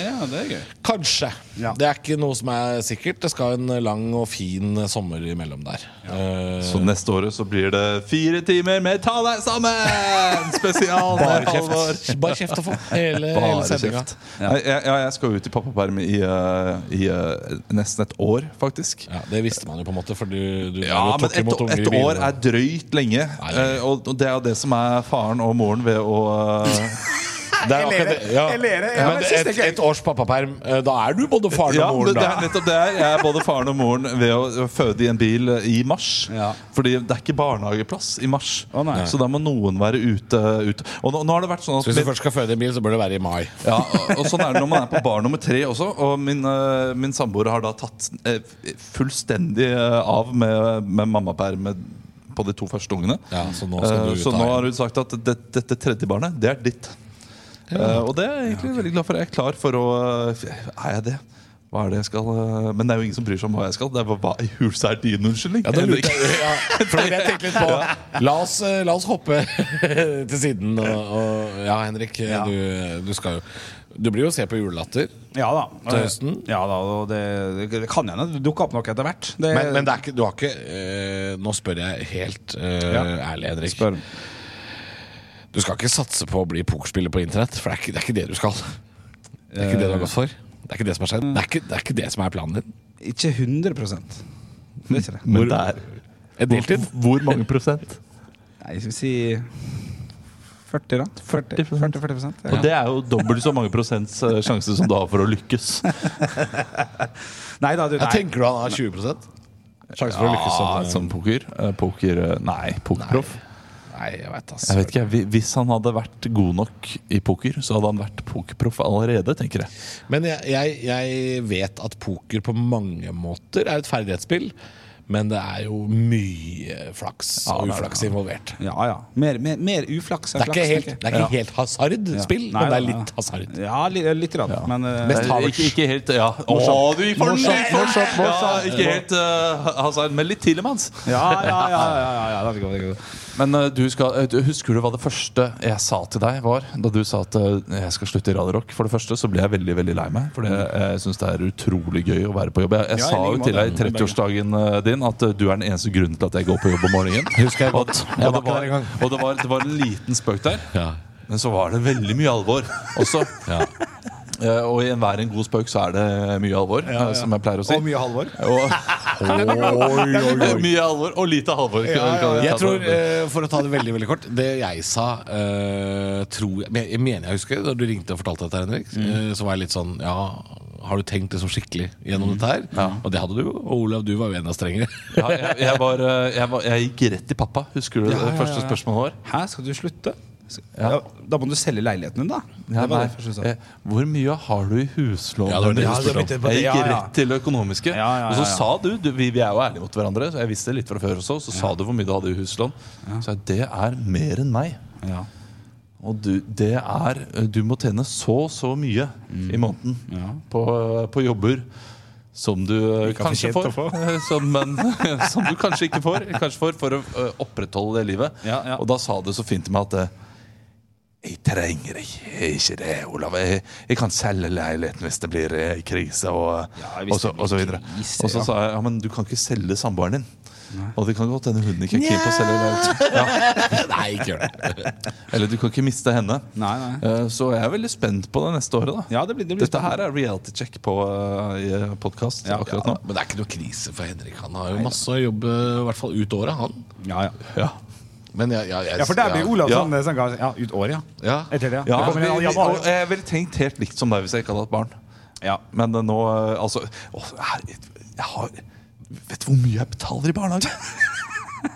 Speaker 4: ja, det er gøy.
Speaker 3: Kanskje.
Speaker 4: Ja.
Speaker 3: Det er ikke noe som er sikkert. Det skal en lang og fin sommer imellom der. Eh,
Speaker 1: Så neste året så blir det fire timer med Ta deg sammen! Spesial med Halvor.
Speaker 3: Bare kjeft å få. Hele, hele
Speaker 1: Bare
Speaker 3: sendinga.
Speaker 1: kjeft. Nei, jeg, ja, jeg skal jo ut i pappaperm i, eh, i eh, nesten et år, faktisk.
Speaker 3: Ja, det visste man jo på en måte, for du, du
Speaker 1: Ja,
Speaker 3: du
Speaker 1: men
Speaker 3: tok
Speaker 1: et,
Speaker 3: imot unger i
Speaker 1: et
Speaker 3: bilen.
Speaker 1: år er drøyt lenge.
Speaker 3: Nei, det er
Speaker 1: eh, Og og det er jo det som er faren og moren ved å eh,
Speaker 3: Det er akkurat det, ja.
Speaker 4: Jeg ler, ja, men
Speaker 3: men
Speaker 4: jeg synes
Speaker 3: et,
Speaker 4: det er gøy.
Speaker 3: et års pappaperm, eh, da er du både faren
Speaker 1: Ja,
Speaker 3: og
Speaker 1: det,
Speaker 3: moren,
Speaker 1: det er
Speaker 3: da.
Speaker 1: nettopp det her. Jeg er både faren og moren ved å føde i en bil eh, i mars.
Speaker 4: Ja.
Speaker 1: Fordi det er ikke barnehageplass i mars.
Speaker 4: Å, nei.
Speaker 1: så da må noen være ute. ute. Og nå, nå har det vært sånn at
Speaker 3: Så hvis du først skal føde en bil, så bør det være i mai.
Speaker 1: ja, og- og sånn er det når man er på barn nummer tre også. Og min, eh, min samboer har da tatt eh, fullstendig eh, av med, med mammaperm på de to første ungene.
Speaker 3: Ja, så nå skal du
Speaker 1: Eh,
Speaker 3: ut
Speaker 1: så
Speaker 3: av
Speaker 1: nå har
Speaker 3: veien.
Speaker 1: hun sagt at det, dette tredje barnet, det er ditt. Eh, og det er jeg egentlig veldig glad for. Jeg er klar for å eh, Er jeg det? Hva er det jeg skal eh, Men det er jo ingen som bryr seg om hva jeg skal. Det er bare, hva i hulsa er din unnskyldning?
Speaker 3: Ja, da
Speaker 1: Henrik.
Speaker 3: lurte jeg, ja, for jeg tenkte litt på La oss, eh, la oss hoppe til siden. Og, og, ja, Henrik, eh, Du, du skal jo Du blir jo å se på Julelatter.
Speaker 4: Ja da.
Speaker 3: Til høsten?
Speaker 4: Ja da, og det, det kan hende det dukker opp noe etter hvert. Det-
Speaker 3: Men, men det er ikke, du har ikke eh, Nå spør jeg helt eh,
Speaker 4: Ja.
Speaker 3: ærlig, Henrik.
Speaker 4: Spør.
Speaker 3: Du skal ikke satse på å bli pokerspiller på internett, for det er ikke det, er ikke det du skal. Det er ikke det du har gått for. Det er ikke det som har skjedd. Det er ikke det, er ikke det som er planen din.
Speaker 4: Ikke 100 Det er ikke det.
Speaker 1: Men det er
Speaker 3: En deltid.
Speaker 1: Hvor mange prosent?
Speaker 4: Nei, skal vi si 40, da? 40, 40, 40 ja.
Speaker 1: Og det er jo dobbelt så mange prosents eh, sjanse som du har for å lykkes.
Speaker 4: Nei da, du.
Speaker 3: Jeg
Speaker 4: Nei.
Speaker 3: tenker du han har 20 Sjanse for å lykkes sånn.
Speaker 1: Ja,
Speaker 3: som
Speaker 1: som poker. Eh, poker eh, Nei, pokerproff.
Speaker 3: Nei, jeg veit
Speaker 1: Jeg vet ikke, hvi- Hvis han hadde vært god nok i poker, så hadde han vært pokerproff allerede. tenker jeg
Speaker 3: Men jeg, jeg, jeg vet at poker på mange måter er et ferdighetsspill. Men det er jo mye flaks
Speaker 4: det
Speaker 3: og
Speaker 4: er det.
Speaker 3: uflaks involvert.
Speaker 4: Ja ja. Mer, mer, mer uflaks enn
Speaker 3: Det er ikke
Speaker 4: flaks.
Speaker 3: helt,
Speaker 4: tenker
Speaker 3: det
Speaker 4: jeg.
Speaker 3: er ikke helt hasardspill,
Speaker 4: Ja. Nei,
Speaker 3: men det er
Speaker 4: nei, nei.
Speaker 3: litt hasard.
Speaker 4: Ja, litt, litt grann. Men eh,
Speaker 3: Mest
Speaker 1: Nei,
Speaker 3: Havertz.
Speaker 1: Ikke, ikke helt ja. Å, du gikk for den!
Speaker 3: Morsomt, morsomt,
Speaker 1: Ja, ikke helt eh, Hazard, men litt Tilemans.
Speaker 4: ja, ja, ja, ja, ja, ja, det er godt, det er godt.
Speaker 1: Men eh, du skal, eh, du- husker du hva det første jeg sa til deg var? Da du sa at eh, jeg skal slutte i Radio Rock. For det første så ble jeg veldig veldig lei meg. For det- jeg syns det er utrolig gøy å være på jobb. Jeg, jeg
Speaker 4: Ja, i
Speaker 1: sa
Speaker 4: like
Speaker 1: jo
Speaker 4: måte.
Speaker 1: til deg i 30-årsdagen eh, din at eh, du er den eneste grunnen til at jeg går på jobb om morgenen.
Speaker 3: Husker jeg
Speaker 1: Og,
Speaker 3: godt.
Speaker 1: og, det, var, og det, var, det var en liten spøk der.
Speaker 3: Ja.
Speaker 1: Men så var det veldig mye alvor også.
Speaker 3: Ja.
Speaker 1: Eh, og i enhver en god spøk så er det mye alvor, eh, som jeg pleier å si.
Speaker 6: Og mye Halvor.
Speaker 1: Og,
Speaker 6: Oi, oi, oi.
Speaker 1: mye alvor og lite alvor. kan-
Speaker 6: Ja, ja,
Speaker 1: kan vi ta
Speaker 3: Jeg tror,
Speaker 1: sammen.
Speaker 3: eh, For å ta det veldig veldig kort Det jeg sa, eh, tror jeg men Jeg mener jeg husker da du ringte og fortalte dette, Henrik,
Speaker 1: Mm.
Speaker 3: eh, så var jeg litt sånn Ja, har du tenkt liksom skikkelig
Speaker 1: Mm.
Speaker 3: gjennom dette her? Og det hadde du jo. Og Olav, du var jo enda strengere.
Speaker 1: ja, jeg, jeg, var, eh, jeg, var, jeg gikk rett til pappa. Husker du det første spørsmålet vår?
Speaker 4: Hæ, skal du slutte? Ja. Da må du selge leiligheten din, da.
Speaker 1: Ja,
Speaker 4: det var
Speaker 1: nei,
Speaker 4: det første du sa.
Speaker 1: eh, hvor mye har du i huslån?
Speaker 3: Ja, det var det
Speaker 1: Jeg
Speaker 3: du
Speaker 1: spurte
Speaker 6: spurte
Speaker 1: om.
Speaker 6: om.
Speaker 1: Jeg
Speaker 6: Ja,
Speaker 1: gikk
Speaker 6: ja.
Speaker 1: rett til det økonomiske.
Speaker 4: Ja, ja,
Speaker 1: Og så
Speaker 4: ja, ja.
Speaker 1: sa du, du vi, vi er jo ærlige mot hverandre, så jeg visste det litt fra før også, så sa du hvor mye du hadde i huslån. Så jeg, det er mer enn meg.
Speaker 4: Ja.
Speaker 1: Og du, det er Du må tjene så så mye i
Speaker 4: Mm.
Speaker 1: måneden på, på jobber som du eh,
Speaker 6: kan
Speaker 1: kanskje får.
Speaker 6: fortjent å
Speaker 1: som, men, som du kanskje ikke får. Kanskje får for å eh, opprettholde det livet.
Speaker 4: Ja, ja.
Speaker 1: Og da sa du så fint til meg at eh, jeg trenger ikke, ikke det, Olav. Jeg, jeg kan selge leiligheten hvis det blir eh, krise. Og,
Speaker 4: Ja, hvis
Speaker 1: og, så,
Speaker 4: det blir
Speaker 1: og så videre.
Speaker 4: krise,
Speaker 1: Og så
Speaker 4: ja.
Speaker 1: sa jeg ja, men du kan ikke selge samboeren din. Og det kan godt hende hun ikke er keen på å selge leiligheten. Ja.
Speaker 3: Nei, ikke gjør det.
Speaker 1: Eller du kan ikke miste henne.
Speaker 4: Nei, nei.
Speaker 1: Eh, Så jeg er veldig spent på det neste året. da
Speaker 4: Ja, det blir- det blir
Speaker 1: Dette her er reality check på uh, podkast
Speaker 4: Ja,
Speaker 1: akkurat nå.
Speaker 3: Men det er ikke noe krise for Henrik. Han har jo masse jobb, eh, i hvert fall ut året, han.
Speaker 4: Ja, ja.
Speaker 1: Ja.
Speaker 3: Men jeg, jeg, jeg,
Speaker 6: Ja, for der blir Olav
Speaker 1: Ja.
Speaker 6: sånn,
Speaker 4: eh,
Speaker 6: sånn kan- Ja, ut året, ja.
Speaker 3: ja.
Speaker 6: Etter det, ja.
Speaker 1: Ja,
Speaker 6: det kommer
Speaker 1: vi,
Speaker 6: en
Speaker 1: vi,
Speaker 6: januar.
Speaker 1: og jeg ville tenkt helt likt som deg hvis jeg ikke hadde hatt barn.
Speaker 4: Ja.
Speaker 1: Men eh, nå eh, Altså, å, her, jeg har Vet du hvor mye jeg betaler i barnehage?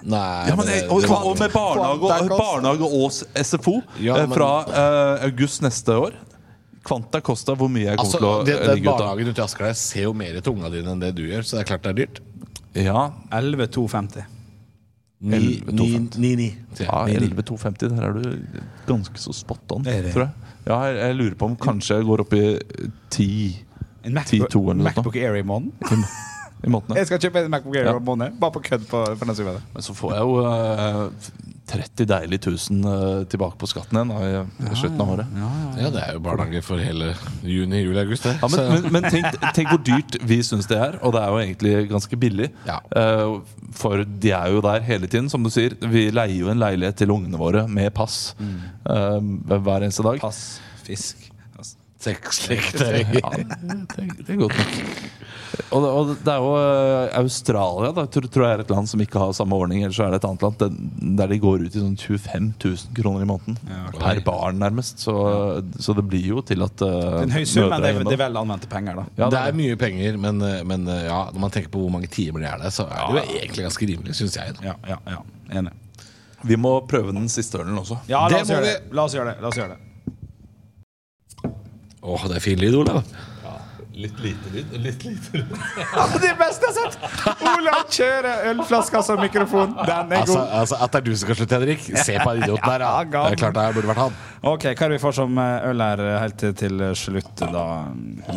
Speaker 3: Nei,
Speaker 1: Ja, men jeg, og,
Speaker 3: det-
Speaker 1: og med barnehage og,
Speaker 6: Kvanta kost.
Speaker 1: barnehage og s- SFO
Speaker 3: Ja,
Speaker 1: eh,
Speaker 3: men-
Speaker 1: fra eh, august neste år Kvanta kosta hvor mye jeg kommer
Speaker 3: Altså,
Speaker 1: til å
Speaker 3: det,
Speaker 1: eh,
Speaker 3: det
Speaker 1: ligge ut av.
Speaker 3: Barnehagen ute i Asker der ser jo mer til ungene dine enn det du gjør, så det er klart det er dyrt.
Speaker 4: 11,250.
Speaker 3: 9-9.
Speaker 1: Ja, 11,250. Der er du ganske så spot on,
Speaker 4: Det er det.
Speaker 1: tror jeg. Ja, jeg, jeg lurer på om kanskje jeg går opp i 10
Speaker 4: En
Speaker 1: Ti, to eller
Speaker 4: MacBook,
Speaker 1: noe
Speaker 4: MacBook Air i måneden.
Speaker 1: i måneden.
Speaker 4: Jeg skal kjøpe en MacBook Air i
Speaker 1: Ja.
Speaker 4: måneden. Bare på kødd. På, for den som gjør det.
Speaker 1: Men så får jeg jo eh, 30 deilige tusen eh, tilbake på skatten igjen da, i i slutten av året.
Speaker 3: Ja, det er jo barnehage for hele juni, juli, august. Det.
Speaker 1: Ja, men
Speaker 3: Så-
Speaker 1: men, men tenk, tenk hvor dyrt vi syns det er, og det er jo egentlig ganske billig.
Speaker 3: Ja.
Speaker 1: Eh, For de er jo der hele tiden, som du sier. Vi leier jo en leilighet til ungene våre med pass eh, hver eneste dag.
Speaker 4: Pass. Fisk. Altså.
Speaker 3: Sexleketøy.
Speaker 1: Ja, det, det er godt nok. Og det, og det er jo eh, Australia da, tror, tror jeg er et land som ikke har samme ordning. Eller så er det et annet land den- der de går ut i sånn 25 000 kroner i måneden. Per barn, nærmest. Så, så det blir jo til at eh,
Speaker 4: En høy sum, men det,
Speaker 1: mødre
Speaker 4: er-
Speaker 1: hjemme-
Speaker 4: det er vel anvendte penger, da.
Speaker 1: ja,
Speaker 3: det er mye penger, men, men ja, når man tenker på hvor mange timer det er der, så er det jo egentlig ganske rimelig, syns jeg. Da.
Speaker 4: Ja, ja, ja. Enig.
Speaker 1: Vi må prøve den siste ølen også.
Speaker 4: Ja, la
Speaker 3: Det
Speaker 4: oss,
Speaker 3: må
Speaker 4: gjøre
Speaker 3: vi-
Speaker 4: det. la oss gjøre det. La oss gjøre det.
Speaker 3: Åh, det er fin lyd, Olav.
Speaker 1: Litt lite lyd. Litt lite lyd.
Speaker 4: Ja, det er beste jeg har sett! Olav kjører ølflaska som mikrofon. Den er
Speaker 3: Altså,
Speaker 4: god.
Speaker 3: altså, at det er du som skal slutte, Henrik. Se på den idioten der, da.
Speaker 4: Ja,
Speaker 3: Det er klart det burde vært han.
Speaker 4: Ok, Hva er det vi får som eh, øl her eh, helt til- til slutt, da,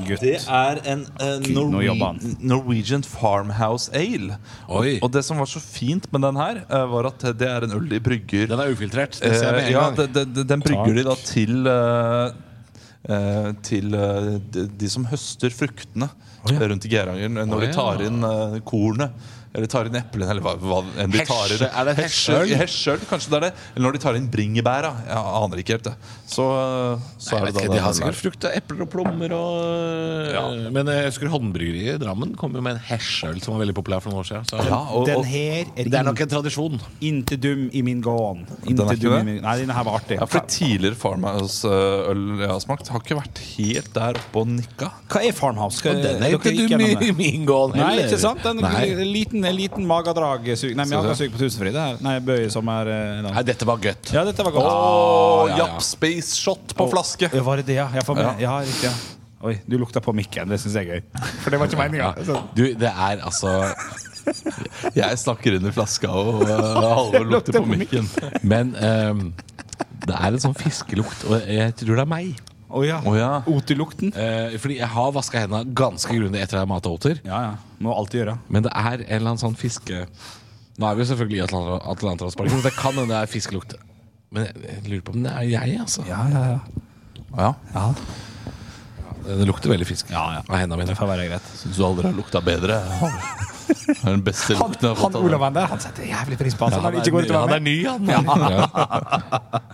Speaker 4: gutt?
Speaker 1: Det er en, eh,
Speaker 4: Fy, nå jobber han.
Speaker 1: Norwe- Norwegian Farmhouse Ale.
Speaker 3: Oi.
Speaker 1: Og det som var så fint med den her, eh, var at det er en øl de brygger
Speaker 3: Den er ufiltrert. Det ser jeg med
Speaker 1: Eh,
Speaker 3: en
Speaker 1: ja,
Speaker 3: gang.
Speaker 1: de- de- de- den brygger de da til eh, eh, Til eh, de, de som høster fruktene rundt i Geiranger, når
Speaker 3: Å,
Speaker 1: de
Speaker 3: ja.
Speaker 1: tar inn eh, kornet. Eller tar inn eplene, eller hva, hva enn de tar inn.
Speaker 3: Hesje- er det
Speaker 1: Hesje-
Speaker 3: hesjeøl?
Speaker 1: hesjeøl, kanskje det er det. Eller når de tar inn bringebæra. Jeg aner ikke helt det. Så, eh, så
Speaker 3: Jeg
Speaker 1: er
Speaker 3: vet
Speaker 1: det da
Speaker 3: ikke,
Speaker 1: den
Speaker 3: De har
Speaker 1: ølen
Speaker 3: sikkert
Speaker 1: her.
Speaker 3: frukt og epler og plommer og Men jeg husker håndbryggeriet i Drammen kom jo med en hesjøl som var veldig populær for noen år siden. Så.
Speaker 1: ja, og,
Speaker 4: Den
Speaker 1: og,
Speaker 4: her er,
Speaker 3: Det er nok en tradisjon.
Speaker 4: inntil dum i min gåen.
Speaker 1: er
Speaker 4: Inntil
Speaker 1: ikke
Speaker 4: dum
Speaker 1: det?
Speaker 4: i min... Nei, denne her var artig.
Speaker 1: ja, for Tidligere Farmhouse-øl jeg har smakt, har ikke vært helt der oppe og nikka.
Speaker 4: Hva er Farmhouse? Skal,
Speaker 3: Den er
Speaker 4: dere
Speaker 3: ikke
Speaker 4: gikk
Speaker 3: dum
Speaker 4: gjennom
Speaker 3: i
Speaker 4: det.
Speaker 3: min gål
Speaker 4: Nei, ikke sant? Den
Speaker 3: Nei.
Speaker 4: en liten, en liten magedragsug Nei, magesug på tusenfryd. Det er- Nei, bøy som er eh,
Speaker 3: Nei,
Speaker 4: land.
Speaker 3: dette var godt.
Speaker 4: Ja, dette var godt.
Speaker 1: Og
Speaker 3: ja, ja.
Speaker 1: Japp Space Shot på flaske.
Speaker 4: Ja, var det det, ja? Jeg får med. Ja, riktig. Ja. Oi, du lukta på mikken. Det syns jeg er gøy. For det var ikke meninga.
Speaker 3: Du, det er altså
Speaker 1: Jeg snakker under flaska, og uh, Halvor lukter på mikken.
Speaker 3: Men ehm, det er en sånn fiskelukt, og jeg tror det er meg.
Speaker 4: Å ja.
Speaker 1: Å ja.
Speaker 4: Otelukten.
Speaker 3: Eh, fordi jeg har vaska hendene ganske grundig etter at jeg mata oter.
Speaker 4: Ja, ja. Må alltid gjøre.
Speaker 3: Men det er en eller annen sånn fiske Nå er vi jo selvfølgelig i Atlant- Atlanterhavsparken, så det kan hende det er fiskelukt. Men jeg, jeg lurer på om det er jeg, altså.
Speaker 4: Ja, ja, ja.
Speaker 1: Ja.
Speaker 3: Det lukter veldig fisk av hendene mine.
Speaker 4: Det får være greit.
Speaker 1: Syns du aldri har lukta bedre. Det er den beste lukten jeg har fått.
Speaker 4: Han
Speaker 1: av det.
Speaker 4: Olav der, han setter jævlig pris på at han
Speaker 3: Han
Speaker 4: ikke går ut og
Speaker 3: er
Speaker 4: er med.
Speaker 3: ny, han. Ja.